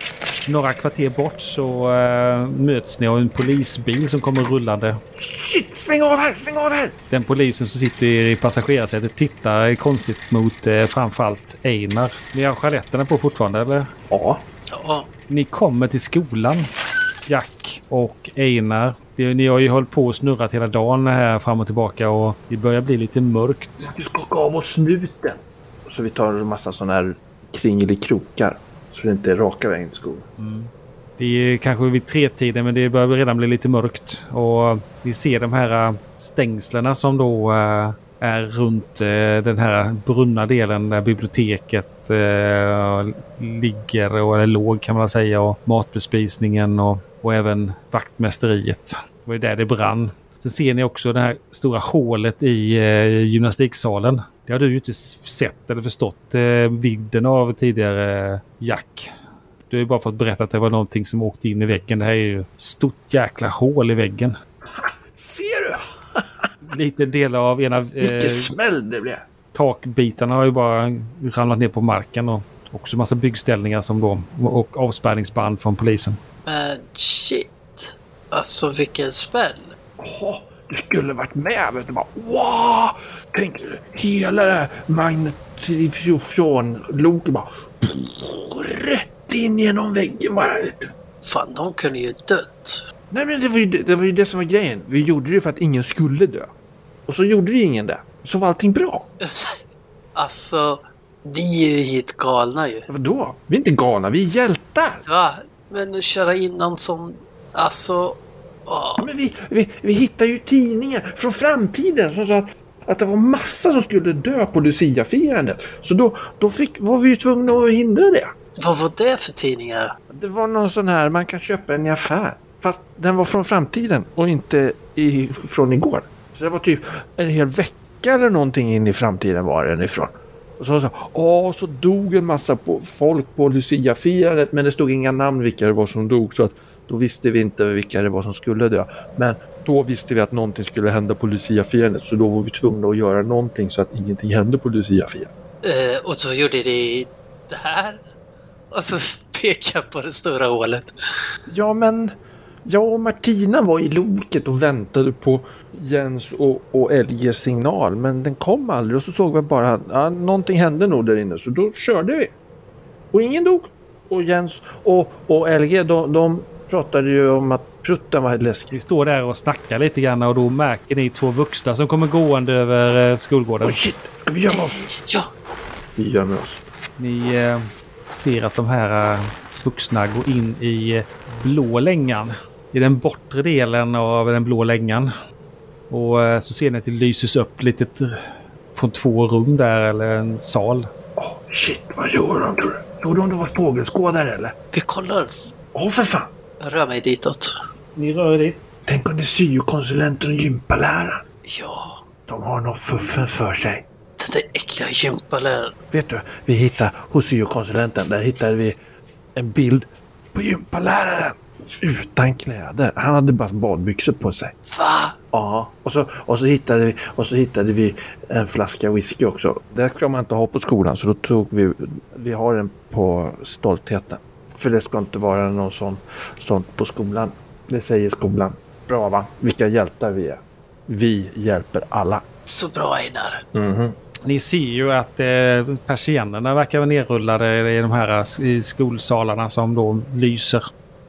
[SPEAKER 2] några kvarter bort så eh, möts ni av en polisbil som kommer rullande.
[SPEAKER 8] Shit,
[SPEAKER 3] Sväng av här! Sväng av här!
[SPEAKER 2] Den polisen som sitter i passagerarsätet tittar konstigt mot eh, framförallt Einar. Ni har sjaletterna på fortfarande eller?
[SPEAKER 3] Ja.
[SPEAKER 4] Ja.
[SPEAKER 2] Ni kommer till skolan. Jack och Einar. Ni ni har ju hållit på och snurrat hela dagen här fram och tillbaka och det börjar bli lite mörkt.
[SPEAKER 3] Du skaka av oss snuten.
[SPEAKER 11] Så vi tar en massa sådana här kringelikrokar. Så det inte är raka vägen till skogen.
[SPEAKER 2] Det är kanske vid tretiden men det börjar redan bli lite mörkt. Och vi ser de här eh, stängslerna som då eh, är runt eh, den här brunna delen där biblioteket eh, ligger, och- eller låg kan man väl säga, och matbespisningen och, och även vaktmästeriet. Det var ju där det brann. Sen ser ni också det här stora hålet i eh, gymnastiksalen. Det har du ju inte s- sett eller förstått eh, vidden av tidigare, eh, Jack. Du har ju bara fått berätta att det var någonting som åkte in i väggen. Det här är ju ett stort jäkla hål i väggen.
[SPEAKER 3] Ser du?
[SPEAKER 2] Liten del av ena
[SPEAKER 3] Vilken
[SPEAKER 2] eh,
[SPEAKER 3] smäll det blev!
[SPEAKER 2] takbitarna har ju bara ramlat ner på marken och också massa byggställningar som då och avspärrningsband från polisen.
[SPEAKER 4] Men shit. Alltså vilken smäll.
[SPEAKER 3] Jaha, du skulle varit med. Vet du bara, wow! Tänk hela det här magnetifjonloket bara... Rätt in genom väggen bara. Vet du.
[SPEAKER 4] Fan, de kunde ju dött.
[SPEAKER 3] Nej men det var, ju, det det var ju det som var grejen. Vi gjorde det för att ingen skulle dö. Och så gjorde ju ingen det. Så var allting bra.
[SPEAKER 4] Alltså, ni är ju helt galna ju.
[SPEAKER 3] Vadå? Vi är inte galna, vi är hjältar!
[SPEAKER 4] Va? Men att köra in någon som... Alltså...
[SPEAKER 3] Ja,
[SPEAKER 4] åh.
[SPEAKER 3] men vi, vi, vi hittar ju tidningar från framtiden som sa att, att det var massa som skulle dö på Lucia-firandet. Så då, då fick, var vi ju tvungna att hindra det.
[SPEAKER 4] Vad var det för tidningar?
[SPEAKER 3] Det var någon sån här man kan köpa en i affär. Fast den var från framtiden och inte i, från igår. Så det var typ en hel vecka eller någonting in i framtiden var den ifrån. Och så sa åh, så dog en massa på, folk på Lucia-firandet men det stod inga namn vilka det var som dog. Så att då visste vi inte vilka det var som skulle dö. Men då visste vi att någonting skulle hända på Lucia-firandet så då var vi tvungna att göra någonting så att ingenting hände på Lucia-firandet.
[SPEAKER 4] Eh, och så gjorde de det här. Och så <laughs> pekade jag på det stora hålet.
[SPEAKER 3] Ja, men jag och Martina var i loket och väntade på Jens och, och Elges signal, men den kom aldrig och så såg vi bara att ja, någonting hände nog där inne, så då körde vi. Och ingen dog. Och Jens och, och Elge, de, de pratade ju om att prutten var läskig.
[SPEAKER 2] Vi står där och snackar lite grann och då märker ni två vuxna som kommer gående över eh, skolgården.
[SPEAKER 3] Oj, shit! Ska vi gömma oss?
[SPEAKER 4] Ja,
[SPEAKER 3] Vi gömmer oss.
[SPEAKER 2] Ni eh, ser att de här eh, vuxna går in i eh, blå längan. I den bortre delen av den blå längan. Och eh, så ser ni att det lyses upp lite från två rum där, eller en sal.
[SPEAKER 3] Åh, shit, vad gjorde de tror du? Tror de det var fågelskådare eller?
[SPEAKER 4] vi kollar.
[SPEAKER 3] Åh, för fan!
[SPEAKER 4] Jag rör mig ditåt.
[SPEAKER 2] Ni rör er dit.
[SPEAKER 3] Tänk om det är syokonsulenten och gympaläraren.
[SPEAKER 4] Ja,
[SPEAKER 3] De har nog fuffen för sig.
[SPEAKER 4] den där äckliga gympaläraren.
[SPEAKER 3] Vet du, vi hittade hos syokonsulenten, där hittade vi en bild på gympaläraren. Utan kläder. Han hade bara badbyxor på sig.
[SPEAKER 4] Va?
[SPEAKER 3] Ja, och så, och så, hittade, vi, och så hittade vi en flaska whisky också. Det ska man inte ha på skolan, så då tog vi... Vi har den på stoltheten. För det ska inte vara någon sån, sånt på skolan. Det säger skolan. Bra va? Vilka hjältar vi är. Vi hjälper alla.
[SPEAKER 4] Så bra Einar.
[SPEAKER 3] Mhm.
[SPEAKER 2] Ni ser ju att eh, persiennerna verkar vara nerrullade i de här eh, i skolsalarna som då lyser.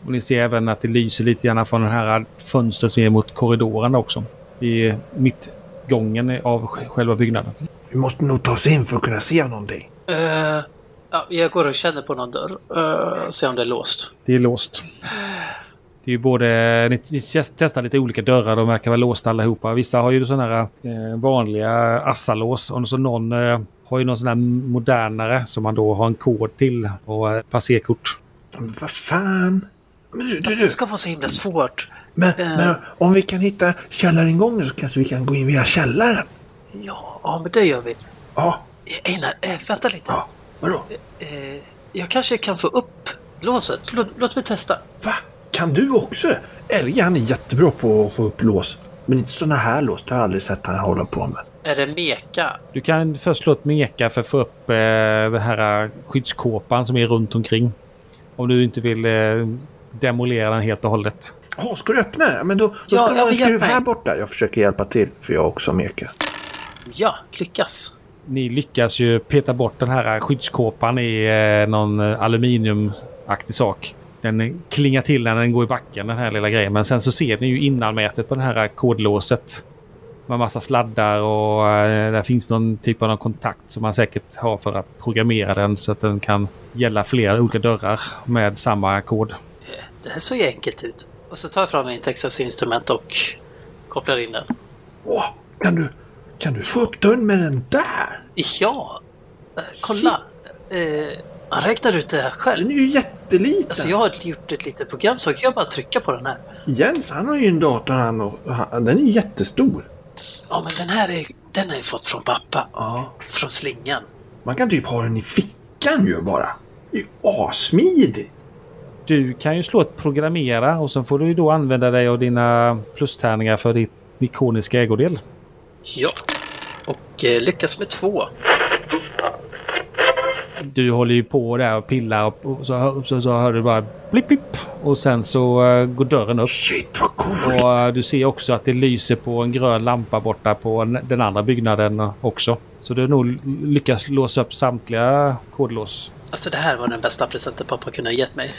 [SPEAKER 2] Och ni ser även att det lyser lite grann från den här fönstret som är mot korridoren också. I mittgången av sj- själva byggnaden.
[SPEAKER 3] Vi måste nog ta oss in för att kunna se någonting.
[SPEAKER 4] Eh, ja, jag går och känner på någon dörr. Uh, se om det är låst.
[SPEAKER 2] Det är låst. Det är ju både... Ni t- test- testar lite olika dörrar. De verkar vara låsta allihopa. Vissa har ju sådana här eh, vanliga assalås. Och så någon eh, har ju någon sån här modernare som man då har en kod till och eh, passerkort.
[SPEAKER 3] Men vad fan? Men du, du, du.
[SPEAKER 4] Det ska vara så himla svårt.
[SPEAKER 3] Men, men om vi kan hitta källaringången så kanske vi kan gå in via källaren?
[SPEAKER 4] Ja, ja men det gör vi.
[SPEAKER 3] Ja,
[SPEAKER 4] Einar, eh, vänta lite.
[SPEAKER 3] Ja. vadå?
[SPEAKER 4] Eh, jag kanske kan få upp låset. Låt, låt mig testa.
[SPEAKER 3] Va? Kan du också det? Elge han är jättebra på att få upp lås. Men inte såna här lås. Det har jag aldrig sett han hålla på med.
[SPEAKER 4] Är det meka?
[SPEAKER 2] Du kan först slå ett meka för att få upp eh, den här skyddskåpan som är runt omkring. Om du inte vill eh, demolera eh, den helt och hållet.
[SPEAKER 8] Jaha, ska du öppna? Ja, Men då, då
[SPEAKER 4] Ja,
[SPEAKER 8] ska du ha
[SPEAKER 4] jag
[SPEAKER 8] en
[SPEAKER 4] vill
[SPEAKER 8] skruv
[SPEAKER 4] hjälpa er.
[SPEAKER 8] här borta. Jag försöker hjälpa till, för jag också mekar.
[SPEAKER 4] Ja, lyckas.
[SPEAKER 2] Ni lyckas ju peta bort den här skyddskåpan i eh, någon eh, aluminiumaktig sak. Den klingar till när den går i backen, den här lilla grejen. Men sen så ser ni ju innanmätet på det här kodlåset. Med massa sladdar och eh, där finns någon typ av någon kontakt som man säkert har för att programmera den så att den kan gälla flera olika dörrar med samma kod.
[SPEAKER 4] Det här såg ju enkelt ut. Och så tar jag fram min Texas instrument och kopplar in den.
[SPEAKER 8] Åh, kan du, kan du få upp dörren med den där?
[SPEAKER 4] Ja! Eh, kolla! Eh, han räknar ut det här själv.
[SPEAKER 8] Den är ju jätteliten.
[SPEAKER 4] Alltså jag har gjort ett litet program så kan jag bara trycka på den här.
[SPEAKER 8] Jens, han har ju en dator han och han, den är ju jättestor.
[SPEAKER 4] Ja men den här är, den har jag fått från pappa.
[SPEAKER 8] Ja.
[SPEAKER 4] Från slingan.
[SPEAKER 8] Man kan typ ha den i fickan ju bara. Det är ju assmidig.
[SPEAKER 2] Du kan ju slå ett programmera och sen får du ju då använda dig av dina plustärningar för ditt ikoniska ägodel.
[SPEAKER 4] Ja. Och eh, lyckas med två.
[SPEAKER 2] Du håller ju på där och pillar och och så, hör- så, så hör du bara blipp, blipp och sen så eh, går dörren upp.
[SPEAKER 8] Shit vad coolt!
[SPEAKER 2] Och eh, du ser också att det lyser på en grön lampa borta på n- den andra byggnaden eh, också. Så du har nog lyckats låsa upp samtliga kodlås.
[SPEAKER 4] Alltså det här var den bästa presenten pappa kunde ha
[SPEAKER 8] <laughs>
[SPEAKER 4] gett mig.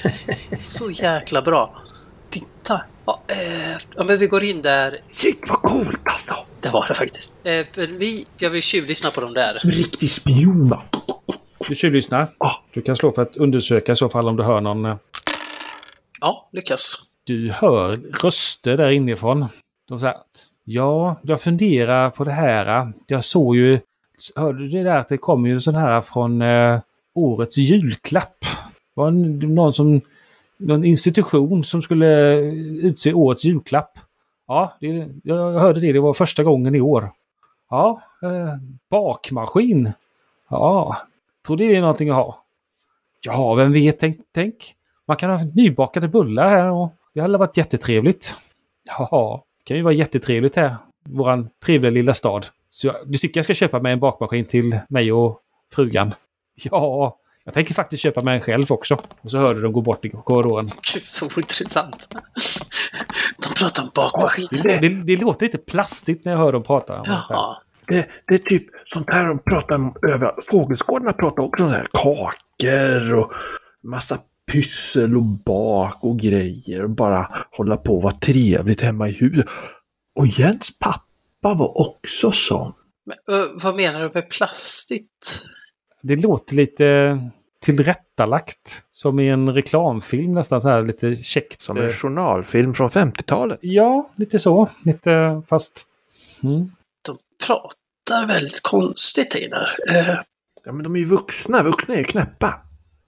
[SPEAKER 4] Så jäkla bra. Titta! Ja, eh, ja men vi går in där.
[SPEAKER 8] Shit vad coolt alltså!
[SPEAKER 4] Det var det faktiskt. Eh, men vi, jag vill tjuvlyssna på dem där.
[SPEAKER 8] Som en riktig spion va? Ah.
[SPEAKER 2] Du tjuvlyssnar. Du kan slå för att undersöka i så fall om du hör någon. eh.
[SPEAKER 4] Ja, lyckas.
[SPEAKER 2] Du hör röster där inifrån. De säger Ja, jag funderar på det här. eh. Jag såg ju... Hörde du det där att det kom ju sån här från eh, årets julklapp? Det var en- någon som... Någon institution som skulle utse årets julklapp. Ja, det, jag- jag hörde det. Det var första gången i år. Ja, eh, bakmaskin. Ja, tror det är någonting att ha. Ja, vem vet, tänk, tänk. Man kan ha nybakade bullar här och det hade varit jättetrevligt. Ja, det kan ju vara jättetrevligt här. Våran trevliga lilla stad. Så jag, du tycker jag ska köpa mig en bakmaskin till mig och frugan? Ja, jag tänker faktiskt köpa mig en själv också. Och så hörde de gå bort i korridoren.
[SPEAKER 4] Gud, så intressant. De pratar om
[SPEAKER 8] Det,
[SPEAKER 4] bakmaskiner.
[SPEAKER 2] Det,
[SPEAKER 8] det,
[SPEAKER 2] det låter lite plastigt när jag hör dem prata. om det så här.
[SPEAKER 4] Ja,
[SPEAKER 8] det, är typ sånt här de pratar om överallt. Fågelskådarna pratar också om det här. Kakor och massa pyssel och bak och grejer. Och bara hålla på och vara trevligt hemma i huset. Och Jens pappa var också sån.
[SPEAKER 4] men, ö, vad menar du med plastigt?
[SPEAKER 2] Det låter lite tillrättalagt. Som i en reklamfilm nästan så här lite käckt.
[SPEAKER 3] Som
[SPEAKER 2] eh,
[SPEAKER 3] en journalfilm från 50-talet.
[SPEAKER 2] Ja, lite så. Lite fast... Mm.
[SPEAKER 4] De pratar väldigt konstigt, Einar. Eh,
[SPEAKER 8] Ja men de är ju vuxna. Vuxna är ju knäppa.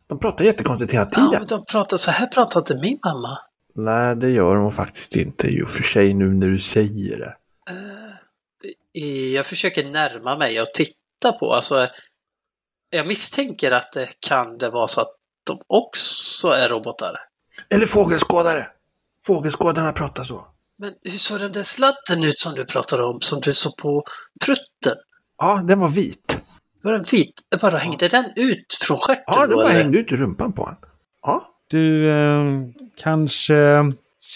[SPEAKER 8] De pratar jättekonstigt hela
[SPEAKER 4] ja,
[SPEAKER 8] tiden.
[SPEAKER 4] men de pratar så här pratar inte min mamma.
[SPEAKER 3] Nej, det gör hon faktiskt inte i och för sig nu när du säger det.
[SPEAKER 4] Eh, Jag försöker närma mig och titta på. Alltså, jag misstänker att det kan det vara så att de också är robotar.
[SPEAKER 8] Eller fågelskådare. Fågelskådarna pratar så.
[SPEAKER 4] Men hur såg den där sladden ut som du pratade om, som du såg på prutten?
[SPEAKER 8] Ja, den var vit.
[SPEAKER 4] Var den vit? Bara hängde den ut från stjärten?
[SPEAKER 8] Ja, den
[SPEAKER 4] då,
[SPEAKER 8] bara
[SPEAKER 4] Typ eller?
[SPEAKER 8] hängde ut i rumpan på honom. Ja.
[SPEAKER 2] Du eh, kanske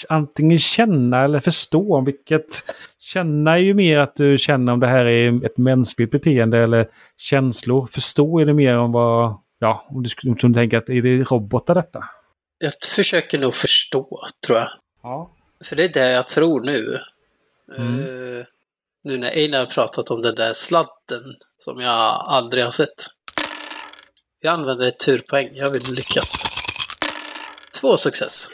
[SPEAKER 2] antingen känna eller förstå om vilket... Känna är ju mer att du känner om det här är ett mänskligt beteende eller känslor. Förstå är det mer om vad... Ja, om du, skulle- om du tänker att är det robotar detta?
[SPEAKER 4] Jag försöker nog förstå, tror jag.
[SPEAKER 2] Ja.
[SPEAKER 4] För det är det jag tror nu.
[SPEAKER 3] Mm.
[SPEAKER 4] Eh, nu när Einar har pratat om den där sladden som jag aldrig har sett. Jag använder ett turpoäng. Jag vill lyckas. Två success.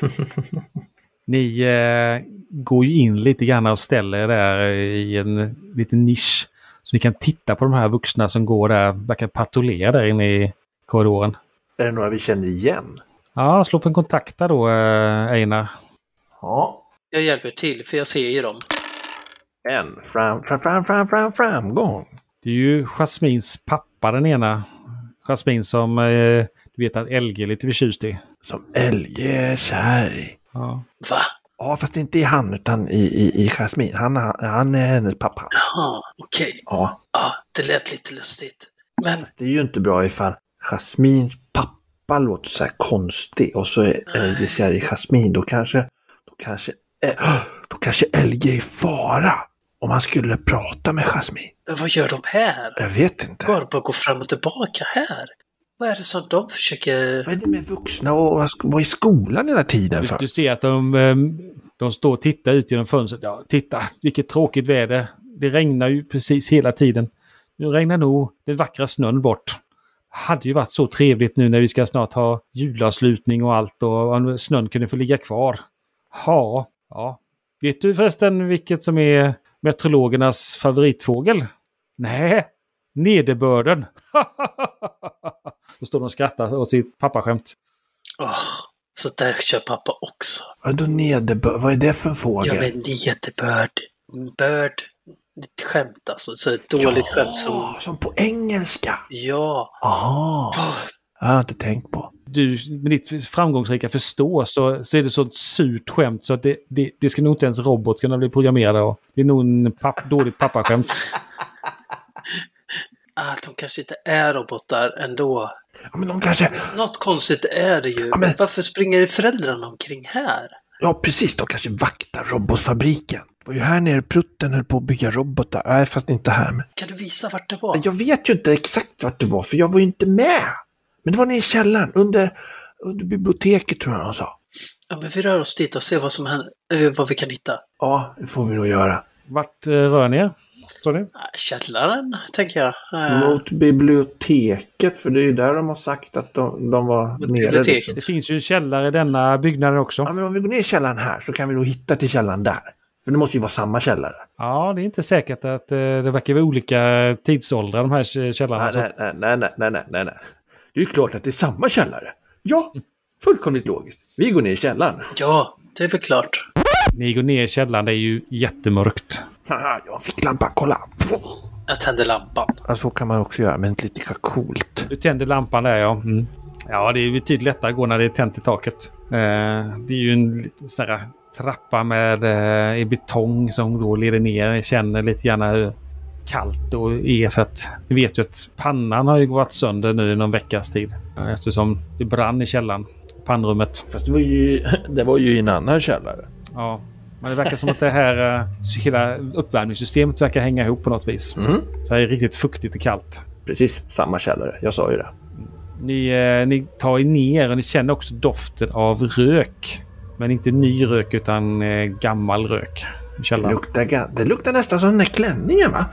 [SPEAKER 2] Ni eh, går ju in lite grann och ställer er där i en liten nisch. Så ni kan titta på de här vuxna som går där, verkar patrullera där inne i korridoren.
[SPEAKER 3] Är det några vi känner <laughs> igen?
[SPEAKER 2] Ja, slå för en kontakta då, eh, Einar.
[SPEAKER 3] Ja.
[SPEAKER 4] Jag hjälper till, för jag ser ju dem.
[SPEAKER 3] En. Fram, fram, fram, fram, fram, framgång.
[SPEAKER 2] Det är ju Jasmins pappa, den ena. Jasmin som eh, du vet att LG är lite förtjust i.
[SPEAKER 3] Som LG är kär i.
[SPEAKER 2] Ja.
[SPEAKER 4] Va?
[SPEAKER 3] Ja, fast inte i han utan i, i, i Jasmin. Han, han, han är hennes pappa.
[SPEAKER 4] Ja, okej.
[SPEAKER 3] Ja.
[SPEAKER 4] Ja, det lät lite lustigt. Men
[SPEAKER 3] Det är ju inte bra ifall Jasmins pappa låter så här konstig och så är LG kär i Jasmin. Då kanske, då kanske Eh, Då kanske Elge är i fara om han skulle prata med Jasmin.
[SPEAKER 4] Men vad gör de här?
[SPEAKER 3] Jag vet inte.
[SPEAKER 4] Går bara gå fram och tillbaka här? Vad är det som de försöker...
[SPEAKER 3] Vad är det med vuxna och att vara i skolan hela tiden
[SPEAKER 2] Du,
[SPEAKER 3] för?
[SPEAKER 2] du ser att de, ehm, de står och tittar ut genom fönstret. Ja, titta, vilket tråkigt väder. Det regnar ju precis hela tiden. Nu regnar nog den vackra snön bort. Hade ju varit så trevligt nu när vi ska snart ha julavslutning och allt och om snön kunde få ligga kvar. Ja, ja. Vet du förresten vilket som är meteorologernas favoritfågel? Nej, nederbörden. <laughs> Då står de och skrattar åt sitt pappaskämt.
[SPEAKER 4] Åh, så där kör pappa också.
[SPEAKER 3] Vadå nederbörd? Vad är det för en fågel?
[SPEAKER 4] Ja men nederbörd. Börd. Ett skämt alltså. Så ett dåligt
[SPEAKER 3] Ja,
[SPEAKER 4] skämt som...
[SPEAKER 3] som på engelska!
[SPEAKER 4] Ja.
[SPEAKER 3] Aha. Jag Ah. har inte tänkt på.
[SPEAKER 2] Ah. du med ditt framgångsrika förstå så, så är det så ett surt skämt så att det, det, det ska nog inte ens robot kunna bli programmerad av. Det är nog en papp, dåligt pappaskämt.
[SPEAKER 4] Ah, de kanske inte är robotar ändå.
[SPEAKER 3] Ja, men de kanske...
[SPEAKER 4] Något konstigt är det ju.
[SPEAKER 3] Ja, men-
[SPEAKER 4] Varför springer föräldrarna omkring här?
[SPEAKER 3] Ja, precis. De kanske vaktar robotfabriken. Det var ju här nere Prutten höll på att bygga robotar. Nej, fast inte här. Men...
[SPEAKER 4] Kan du visa vart det var?
[SPEAKER 3] Jag vet ju inte exakt vart det var, för jag var ju inte med. Men det var nere i källaren, under, under biblioteket tror jag de sa.
[SPEAKER 4] Ja, men vi rör oss dit och ser vad som händer, eh, vad vi kan hitta.
[SPEAKER 3] Ja, det får vi nog göra.
[SPEAKER 2] Vart eh, rör ni er? Står ni?
[SPEAKER 4] Ah, Källaren, tänker jag. Eh,
[SPEAKER 5] Mot biblioteket, för det är ju där de har sagt att de, de var
[SPEAKER 4] Mot
[SPEAKER 5] nere.
[SPEAKER 4] biblioteket.
[SPEAKER 2] Det finns ju en källare i denna byggnaden
[SPEAKER 3] Ja,
[SPEAKER 2] också.
[SPEAKER 3] men om vi går ner i källaren här så kan vi nog hitta till källaren där. För det måste ju vara samma källare.
[SPEAKER 2] Ja, det är inte säkert att eh, det verkar vara olika tidsåldrar de här k- källarna.
[SPEAKER 3] Nej,
[SPEAKER 2] Så
[SPEAKER 3] nej, nej, nej, nej, nej, nej, nej, nej. Det är ju klart att det är samma källare. Ja, fullkomligt logiskt. Vi går ner i källaren.
[SPEAKER 4] Ja, det är väl klart.
[SPEAKER 2] Ni går ner i källaren, det är ju jättemörkt.
[SPEAKER 3] Haha, jag fick lampan, kolla!
[SPEAKER 4] Jag tänder lampan.
[SPEAKER 3] Ja, så kan man också göra, men lite lika coolt.
[SPEAKER 2] Du tänder lampan där ja. Mm. Ja, det är betydligt lättare att gå när det är tänt i taket. Eh, det är ju en liten sån här trappa med eh, i betong som då leder ner. Jag känner lite grann hur kallt och är för att ni vet ju att pannan har ju gått sönder nu i någon veckas tid. Eh, Eftersom det brann i källaren. Pannrummet.
[SPEAKER 5] Fast det var, ju, <laughs> det var ju i en annan källare.
[SPEAKER 2] Ja. Men det verkar som att det här eh, hela uppvärmningssystemet verkar hänga ihop på något vis.
[SPEAKER 3] Mm.
[SPEAKER 2] Så det är riktigt fuktigt och kallt.
[SPEAKER 5] Precis, samma källare. Jag sa ju det.
[SPEAKER 2] Ni, eh, ni tar er ner och ni känner också doften av rök. Men inte ny rök utan eh, gammal rök. i
[SPEAKER 3] Det
[SPEAKER 2] Källaren.
[SPEAKER 3] luktar, ga- det luktar nästan som den där klänningen, va?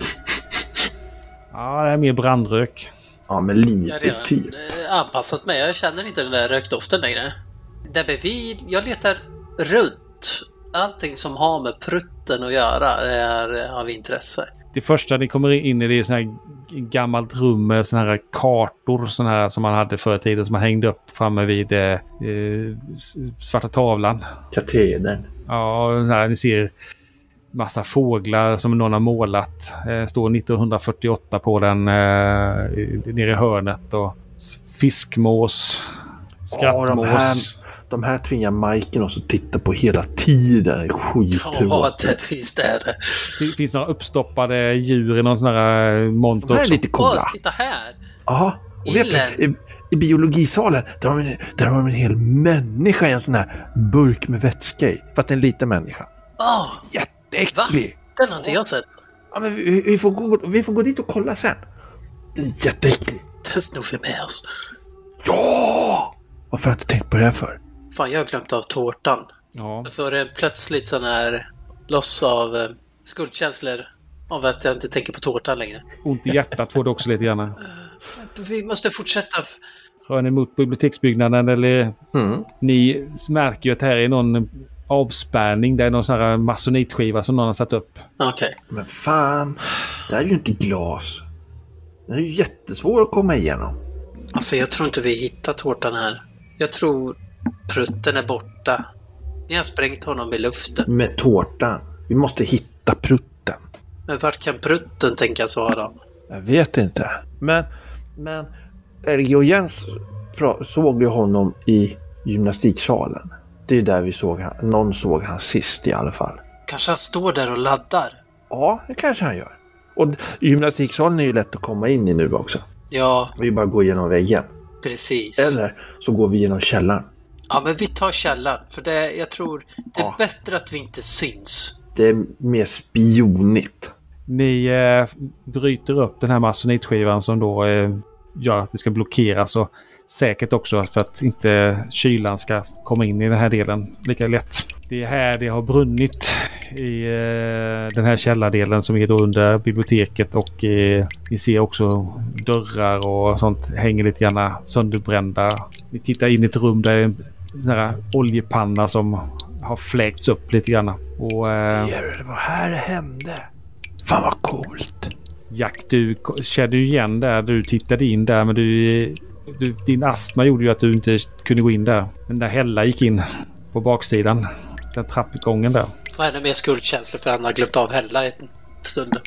[SPEAKER 2] Ja, det är mer brandrök.
[SPEAKER 3] Ja, men
[SPEAKER 4] Jag har
[SPEAKER 3] lite
[SPEAKER 4] redan
[SPEAKER 3] typ.
[SPEAKER 4] eh, anpassat mig. Jag känner inte den där rökdoften längre. Nej, men vi, jag letar runt. Allting som har med prutten att göra är av intresse.
[SPEAKER 2] Det första ni kommer in i det är sån här g- gammalt rum med såna här kartor sån här som man hade förr i tiden som man hängde upp framme vid eh, eh, s- svarta tavlan.
[SPEAKER 5] Katedern.
[SPEAKER 2] Ja, och så här, ni ser massa fåglar som någon har målat. Eh, står 1948 på den eh, i- nere i hörnet. Och s- fiskmås.
[SPEAKER 3] de här-
[SPEAKER 2] Skrattmås.
[SPEAKER 3] De här tvingar Majken oss att titta på hela tiden. Det är
[SPEAKER 4] Ja,
[SPEAKER 3] Skittråkigt.
[SPEAKER 4] det finns där.
[SPEAKER 2] Det finns några uppstoppade djur i någon sån här eh, monter
[SPEAKER 3] De här är
[SPEAKER 2] också.
[SPEAKER 3] lite
[SPEAKER 4] Åh,
[SPEAKER 3] coola.
[SPEAKER 4] titta här!
[SPEAKER 3] Ja, och vet du, i, i biologisalen, där har, de en, där har de en hel människa i en sån här burk med vätska i. För att det är en liten människa.
[SPEAKER 4] Åh,
[SPEAKER 3] Jätteäcklig!
[SPEAKER 4] den Ah, har inte jag sett.
[SPEAKER 3] Ja, men vi, vi, får gå, vi får gå dit och kolla sen. Den är jätteäcklig.
[SPEAKER 4] Den snor vi med oss.
[SPEAKER 3] Ja! Varför har jag inte tänkt på det här för?
[SPEAKER 4] Fan, jag har glömt av tårtan.
[SPEAKER 2] Ja.
[SPEAKER 4] Jag får en plötsligt sån här loss av eh, skuldkänslor av att jag inte tänker på tårtan längre.
[SPEAKER 2] Ont i hjärtat får du också lite grann.
[SPEAKER 4] Vi måste fortsätta.
[SPEAKER 2] Rör ni mot biblioteksbyggnaden eller? Ni märker ju att här är någon avspärrning. Det är någon sån här masonitskiva som någon har satt upp.
[SPEAKER 4] Okej.
[SPEAKER 3] Men fan, det här är ju inte glas. Den är ju jättesvår att komma igenom.
[SPEAKER 4] Alltså, jag tror inte vi hittar tårtan här. Jag tror prutten är borta. Ni har sprängt honom i luften.
[SPEAKER 3] Med tårtan. Vi måste hitta prutten.
[SPEAKER 4] Men vart kan prutten tänkas vara?
[SPEAKER 3] Jag vet inte. Men, men Elge och Jens fra- såg ju honom i gymnastiksalen. Det är där vi såg han. Någon såg han sist i alla fall.
[SPEAKER 4] Kanske han står där och laddar?
[SPEAKER 3] Ja, det kanske han gör. Och d- gymnastiksalen är ju lätt att komma in i nu också.
[SPEAKER 4] Ja,
[SPEAKER 3] Vi bara går genom väggen.
[SPEAKER 4] precis.
[SPEAKER 3] Eller så går vi genom källaren.
[SPEAKER 4] Ja, men vi tar källaren. För det, jag tror det är bättre att vi inte syns.
[SPEAKER 3] Det är mer spionigt.
[SPEAKER 2] Ni eh, bryter upp den här masonitskivan som då eh, gör att det ska blockeras och säkert också för att inte kylan ska komma in i den här delen lika lätt. Det är här det har brunnit i eh, den här källardelen som är då under biblioteket och eh, ni ser också dörrar och sånt hänger lite grann sönderbrända. Ni tittar in i ett rum där det är en sån här oljepanna som har fläkts upp lite grann. Och, eh,
[SPEAKER 3] Ser du, det var här det hände. Fan vad coolt.
[SPEAKER 2] Jack, du k- kände ju igen där. Du tittade in där, men du, du, din astma gjorde ju att du inte kunde gå in där. Men där Hella gick in på baksidan. Den trappgången där.
[SPEAKER 4] Får ännu mer skuldkänslor för han har glömt av Hella en stund.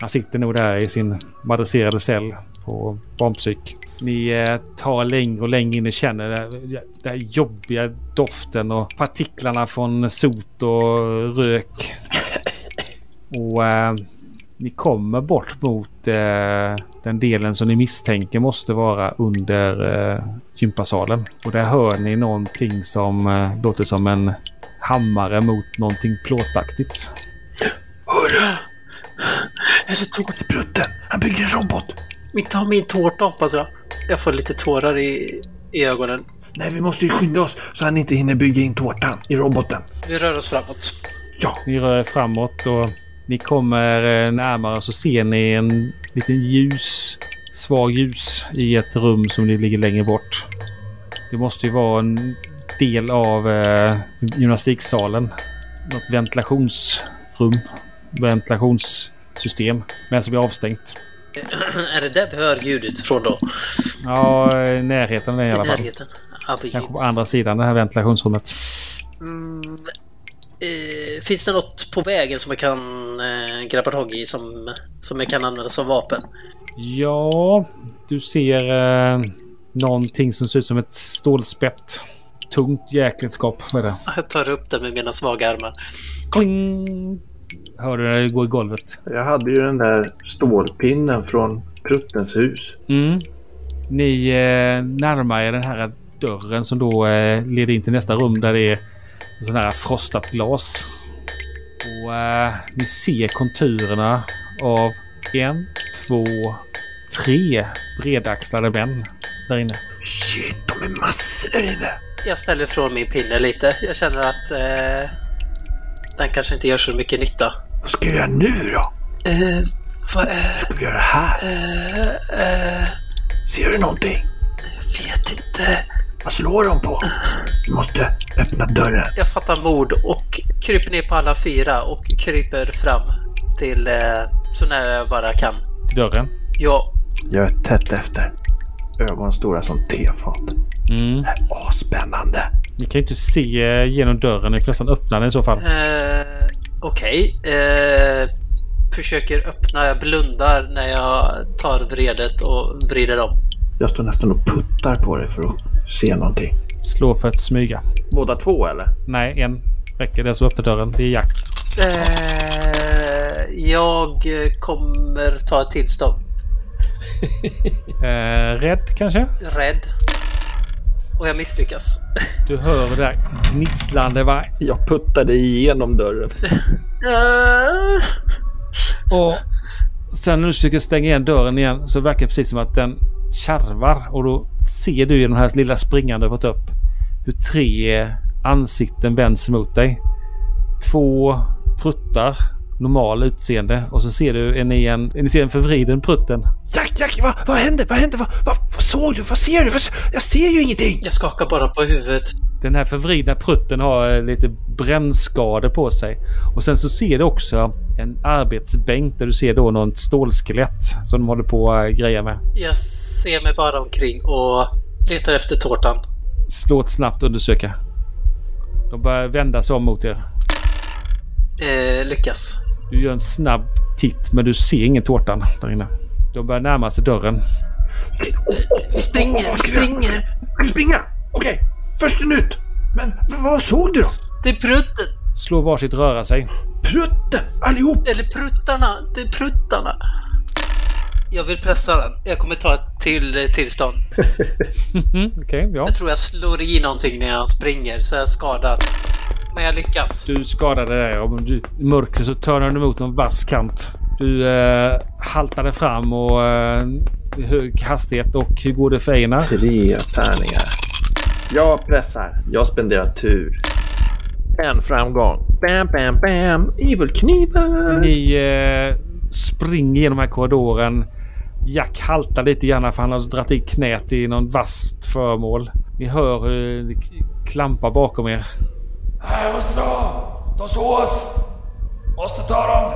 [SPEAKER 2] Han sitter nog där i sin madrasserade cell på barnpsyk. Ni eh, tar längre och längre in och känner den här- den här jobbiga doften och partiklarna från sot och rök. Och eh, ni kommer bort mot eh, den delen som ni misstänker måste vara under eh, gympasalen. Och där hör ni någonting som eh, låter som en hammare mot någonting plåtaktigt.
[SPEAKER 4] Hörru! Är det tårtbrutten? Han bygger en robot! Vi tar min tårta hoppas jag. Jag får lite tårar i, i ögonen.
[SPEAKER 3] Nej, vi måste ju skynda oss så han inte hinner bygga in tårtan i roboten.
[SPEAKER 4] Vi rör oss framåt.
[SPEAKER 2] Ni rör er framåt och ni kommer eh, närmare så ser ni en liten ljus, svag ljus i ett rum som ni ligger längre bort. Det måste ju vara en del av eh, gymnastiksalen. Något ventilationsrum, ventilationssystem, men som är avstängt.
[SPEAKER 4] <clears throat> är det där vi hör ljudet från då?
[SPEAKER 2] Ja, i närheten är det i alla
[SPEAKER 4] I
[SPEAKER 2] fall.
[SPEAKER 4] närheten? Ja, vi-
[SPEAKER 2] Kanske på andra sidan det här ventilationsrummet.
[SPEAKER 4] Mm, eh, finns det något på vägen som jag kan eh, grabba tag i som, som jag kan använda som vapen?
[SPEAKER 2] Ja, du ser eh, någonting som ser ut som ett stålspett. Tungt jäkligt skap med det.
[SPEAKER 4] Jag tar upp det med mina svaga armar.
[SPEAKER 2] Kling! Hör du när det går i golvet?
[SPEAKER 8] Jag hade ju den där stålpinnen från Pruttens hus.
[SPEAKER 2] Mm. Ni eh, närmar er den här dörren som då eh, leder in till nästa rum där det är sån här frostat glas. Och eh, ni ser konturerna av en, två, tre bredaxlade män där inne.
[SPEAKER 3] Shit, de är massor där inne.
[SPEAKER 4] Jag ställer ifrån min pinne lite. Jag känner att eh, den kanske inte gör så mycket nytta.
[SPEAKER 3] Vad ska jag göra nu då?
[SPEAKER 4] Eh, vad är...
[SPEAKER 3] Ska vi göra det här?
[SPEAKER 4] Eh, eh,
[SPEAKER 3] Ser du någonting?
[SPEAKER 4] jag vet inte. Eh,
[SPEAKER 3] Vad slår de på? Vi måste öppna dörren.
[SPEAKER 4] Jag fattar mod och kryper ner på alla fyra och kryper fram till eh, så nära jag bara kan.
[SPEAKER 2] Till dörren.
[SPEAKER 4] Ja,
[SPEAKER 3] Jag är tätt efter. Ögon stora som tefat.
[SPEAKER 2] Mm.
[SPEAKER 3] Åh, spännande.
[SPEAKER 2] Ni kan ju inte se eh, genom dörren. Ni får nästan öppna den i så fall.
[SPEAKER 4] eh, okej. Eh, försöker öppna, jag blundar när jag tar vredet och vrider om.
[SPEAKER 3] Jag står nästan och puttar på dig för att se någonting.
[SPEAKER 2] Slå för att smyga.
[SPEAKER 3] Båda två eller?
[SPEAKER 2] Nej, en räcker. Den som öppnar dörren. Det är Jack.
[SPEAKER 4] Eh, jag kommer ta ett tillstånd.
[SPEAKER 2] Eh, rädd kanske?
[SPEAKER 4] Rädd. Och jag misslyckas.
[SPEAKER 2] Du hör det där gnisslande va?
[SPEAKER 3] Jag puttade igenom dörren.
[SPEAKER 4] Eh,
[SPEAKER 2] <laughs> Och sen när du försöker stänga igen dörren igen så verkar det precis som att den kärvar och då ser du i den här lilla springande du fått upp hur tre ansikten vänds mot dig. Två pruttar, normal utseende och så ser du en, en, ni ser en förvriden prutten.
[SPEAKER 3] Jack, Jack, vad, vad hände? Vad hände? Vad, vad, vad såg du? Vad ser du? Vad, jag ser ju ingenting.
[SPEAKER 4] jag skakar bara på huvudet.
[SPEAKER 2] Den här förvridna prutten har eh, lite brännskador på sig. Och sen så ser du också en arbetsbänk där du ser då något stålskelett som de håller på att greja med.
[SPEAKER 4] Jag ser mig bara omkring och letar efter tårtan.
[SPEAKER 2] Slå ett snabbt undersöka. De börjar vända sig om mot er.
[SPEAKER 4] Eh, lyckas.
[SPEAKER 2] Du gör en snabb titt men du ser ingen tårtan där inne. De börjar närma sig dörren.
[SPEAKER 4] Springer, springer!
[SPEAKER 3] Ska du springa? Okej, först ut. Men v- vad såg du då?
[SPEAKER 4] Det är prutten!
[SPEAKER 2] Slå varsitt röra sig. <laughs>
[SPEAKER 3] Prutten, allihop.
[SPEAKER 4] Eller pruttarna! Det är pruttarna! Jag vill pressa den. Jag kommer ta ett till eh, tillstånd.
[SPEAKER 2] Mhm, Okej, ja.
[SPEAKER 4] Jag tror jag slår i någonting när jag springer, så jag är skadad. Men jag lyckas.
[SPEAKER 2] Du skadade dig och du, i mörker så törnade du mot någon vass kant. Du eh, haltade fram och eh, i hög hastighet och hur går det för Einar?
[SPEAKER 8] Tre tärningar. Jag pressar. Jag spenderar tur. En framgång. Bam, bam, bam. Evil-kniven.
[SPEAKER 2] Ni eh, springer genom den här korridoren. Jack haltar lite grann för han har dragit i knät i någon vasst föremål. Ni hör hur det k- klampar bakom er.
[SPEAKER 12] Här måste ta! De såg oss! Måste ta dem!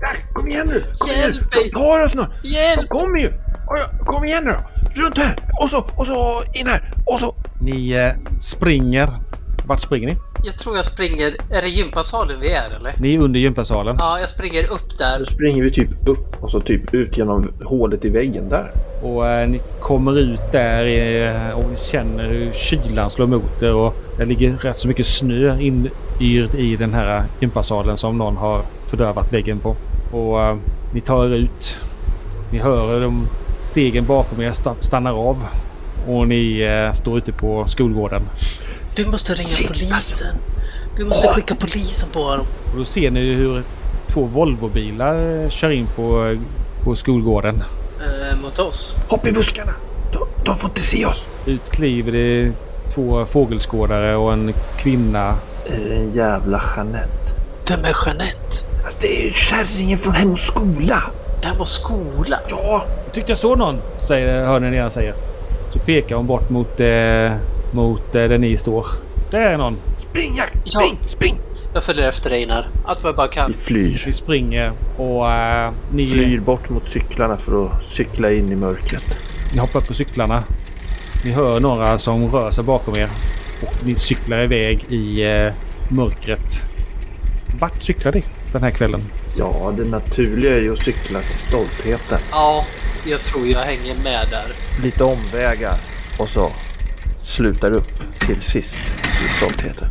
[SPEAKER 8] Där, kom igen nu! Kom igen nu! De tar oss nu! De kommer ju! Oj, Kom igen nu då! Runt här! Och så, och så in här! Och så...
[SPEAKER 2] Ni eh, springer. Vart springer ni?
[SPEAKER 4] Jag tror jag springer... Är det gympasalen vi är eller?
[SPEAKER 2] Ni är under gympasalen.
[SPEAKER 4] Ja, jag springer upp där.
[SPEAKER 3] Springer vi typ upp och så typ ut genom hålet i väggen där.
[SPEAKER 2] Och eh, ni kommer ut där eh, och ni känner hur kylan slår mot er och det ligger rätt så mycket snö inyrd i den här gympasalen som någon har fördövat väggen på. Och eh, ni tar er ut. Ni hör hur de stegen bakom er sta- stannar av och ni eh, står ute på skolgården.
[SPEAKER 4] Du måste ringa
[SPEAKER 8] alltså.
[SPEAKER 4] polisen. Du måste skicka polisen på honom.
[SPEAKER 2] Och då ser ni hur två Volvobilar eh, kör in på, eh, på skolgården.
[SPEAKER 4] Eh, mot oss.
[SPEAKER 8] Hopp i buskarna! De, de får inte se oss!
[SPEAKER 2] Ut kliver det två fågelskådare och en kvinna
[SPEAKER 3] Är det en jävla Jeanette?
[SPEAKER 4] Vem är Jeanette?
[SPEAKER 8] Det är ju kärringen från Hem och Skola!
[SPEAKER 4] Hem och Skola?
[SPEAKER 8] Ja!
[SPEAKER 2] Jag tyckte jag såg någon, säger, hör ni när jag säger. Så pekar hon bort mot, eh, mot eh, där ni står. Där är någon.
[SPEAKER 8] Spring Jack! Spring! Spring!
[SPEAKER 4] Jag följer efter Einar. Allt vad jag bara kan.
[SPEAKER 3] Vi flyr.
[SPEAKER 2] Ni springer och eh, ni,
[SPEAKER 3] Flyr bort mot cyklarna för att cykla in i mörkret.
[SPEAKER 2] ni hoppar på cyklarna. Ni hör några som rör sig bakom er. Och ni cyklar iväg i eh, mörkret. Vart cyklar ni den här kvällen?
[SPEAKER 3] Ja, det naturliga är ju att cykla till stoltheten.
[SPEAKER 4] Ja, jag tror jag hänger med där.
[SPEAKER 3] Lite omvägar. Och så slutar upp till sist i stoltheten.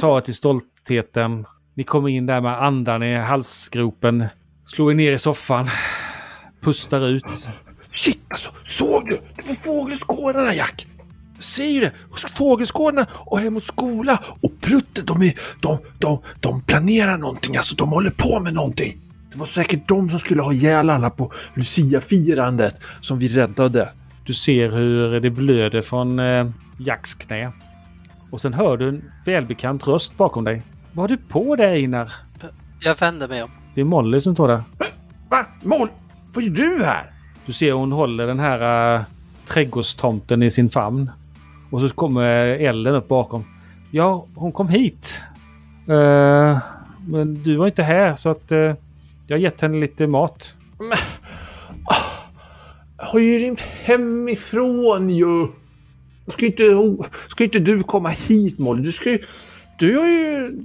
[SPEAKER 2] Ta er till stoltheten. Ni kommer in där med andan i halsgropen. Slår er ner i soffan. Pustar ut.
[SPEAKER 8] Shit alltså! Såg du? Det var fågelskådarna Jack! Jag Säger det! Fågelskådarna och Hem och Skola och Prutte de, är, de, de, de planerar någonting alltså. De håller på med någonting. Det var säkert de som skulle ha ihjäl alla på Lucia-firandet som vi räddade.
[SPEAKER 2] Du ser hur det blöder från eh, Jacks knä. Och sen hör du en välbekant röst bakom dig. Vad har du på dig Einar?
[SPEAKER 4] Jag vänder mig om.
[SPEAKER 2] Det är Molly som står där.
[SPEAKER 8] Va? Mål? Vad gör du här?
[SPEAKER 2] Du ser hon håller den här eh, trädgårdstomten i sin famn. Och så kommer elden upp bakom. Ja, hon kom hit. Eh, men du var inte här så att eh, jag har gett henne lite mat.
[SPEAKER 8] Jag ah, har ju rymt hemifrån ju! Ska inte, ska inte du komma hit Molly? Du ska ju... Du har ju...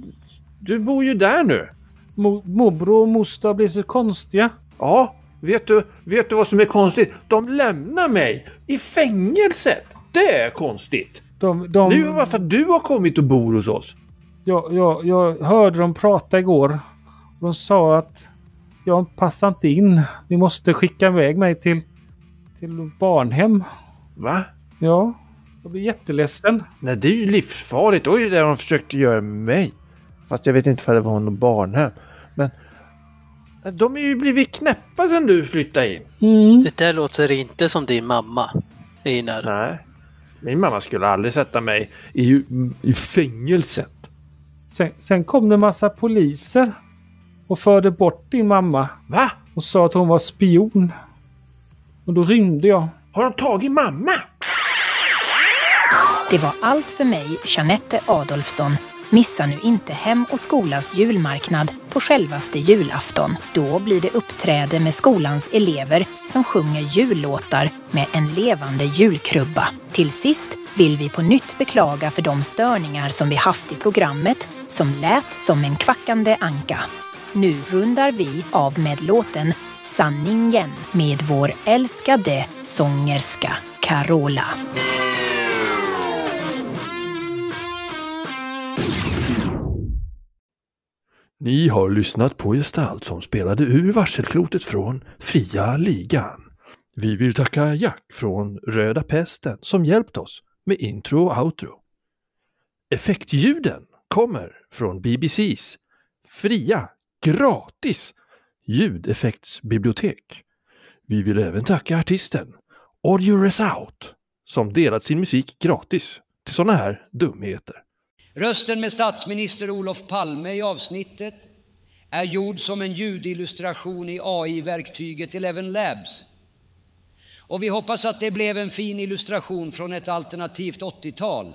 [SPEAKER 8] Du bor ju där nu.
[SPEAKER 2] Mo- morbror och moster blir så konstiga.
[SPEAKER 8] Ja, vet du, vet du vad som är konstigt? De lämnar mig i fängelset. Det är konstigt.
[SPEAKER 2] De, de,
[SPEAKER 8] Det är ju bara för att du har kommit och bor hos oss.
[SPEAKER 2] Jag, jag, jag hörde dem prata igår. De sa att jag passar inte in. Ni måste skicka iväg mig till, till barnhem.
[SPEAKER 8] Va?
[SPEAKER 2] Ja, jag blir jätteledsen.
[SPEAKER 3] Nej, det är ju livsfarligt. Det var ju det de försökte göra med mig. Fast jag vet inte om det var någon barnhem. Men eh,
[SPEAKER 8] De har ju blivit knäppa sedan du flyttade in.
[SPEAKER 4] Det där låter inte som din mamma, Einar.
[SPEAKER 8] Nej. Min mamma skulle aldrig sätta mig i, i fängelset.
[SPEAKER 2] Sen, sen kom det en massa poliser och förde bort din mamma
[SPEAKER 8] Va?
[SPEAKER 2] och sa att hon var spion. Och då rymde jag.
[SPEAKER 8] Har de tagit mamma?
[SPEAKER 1] Det var allt för mig, Janette Adolfsson. Missa nu inte Hem och Skolas julmarknad på självaste julafton. Då blir det uppträde med skolans elever som sjunger jullåtar med en levande julkrubba. Till sist vill vi på nytt beklaga för de störningar som vi haft i programmet som lät som en kvackande anka. Nu rundar vi av med låten Sanningen med vår älskade sångerska Carola.
[SPEAKER 3] Ni har lyssnat på gestalt som spelade ur varselklotet från Fria Ligan. Vi vill tacka Jack från Röda Pesten som hjälpt oss med intro och outro. Effektljuden kommer från BBCs fria, gratis ljudeffektsbibliotek. Vi vill även tacka artisten Audio Resout som delat sin musik gratis till sådana här dumheter.
[SPEAKER 10] Rösten med statsminister Olof Palme i avsnittet är gjord som en ljudillustration i AI-verktyget Eleven Labs. Och vi hoppas att det blev en fin illustration från ett alternativt 80-tal.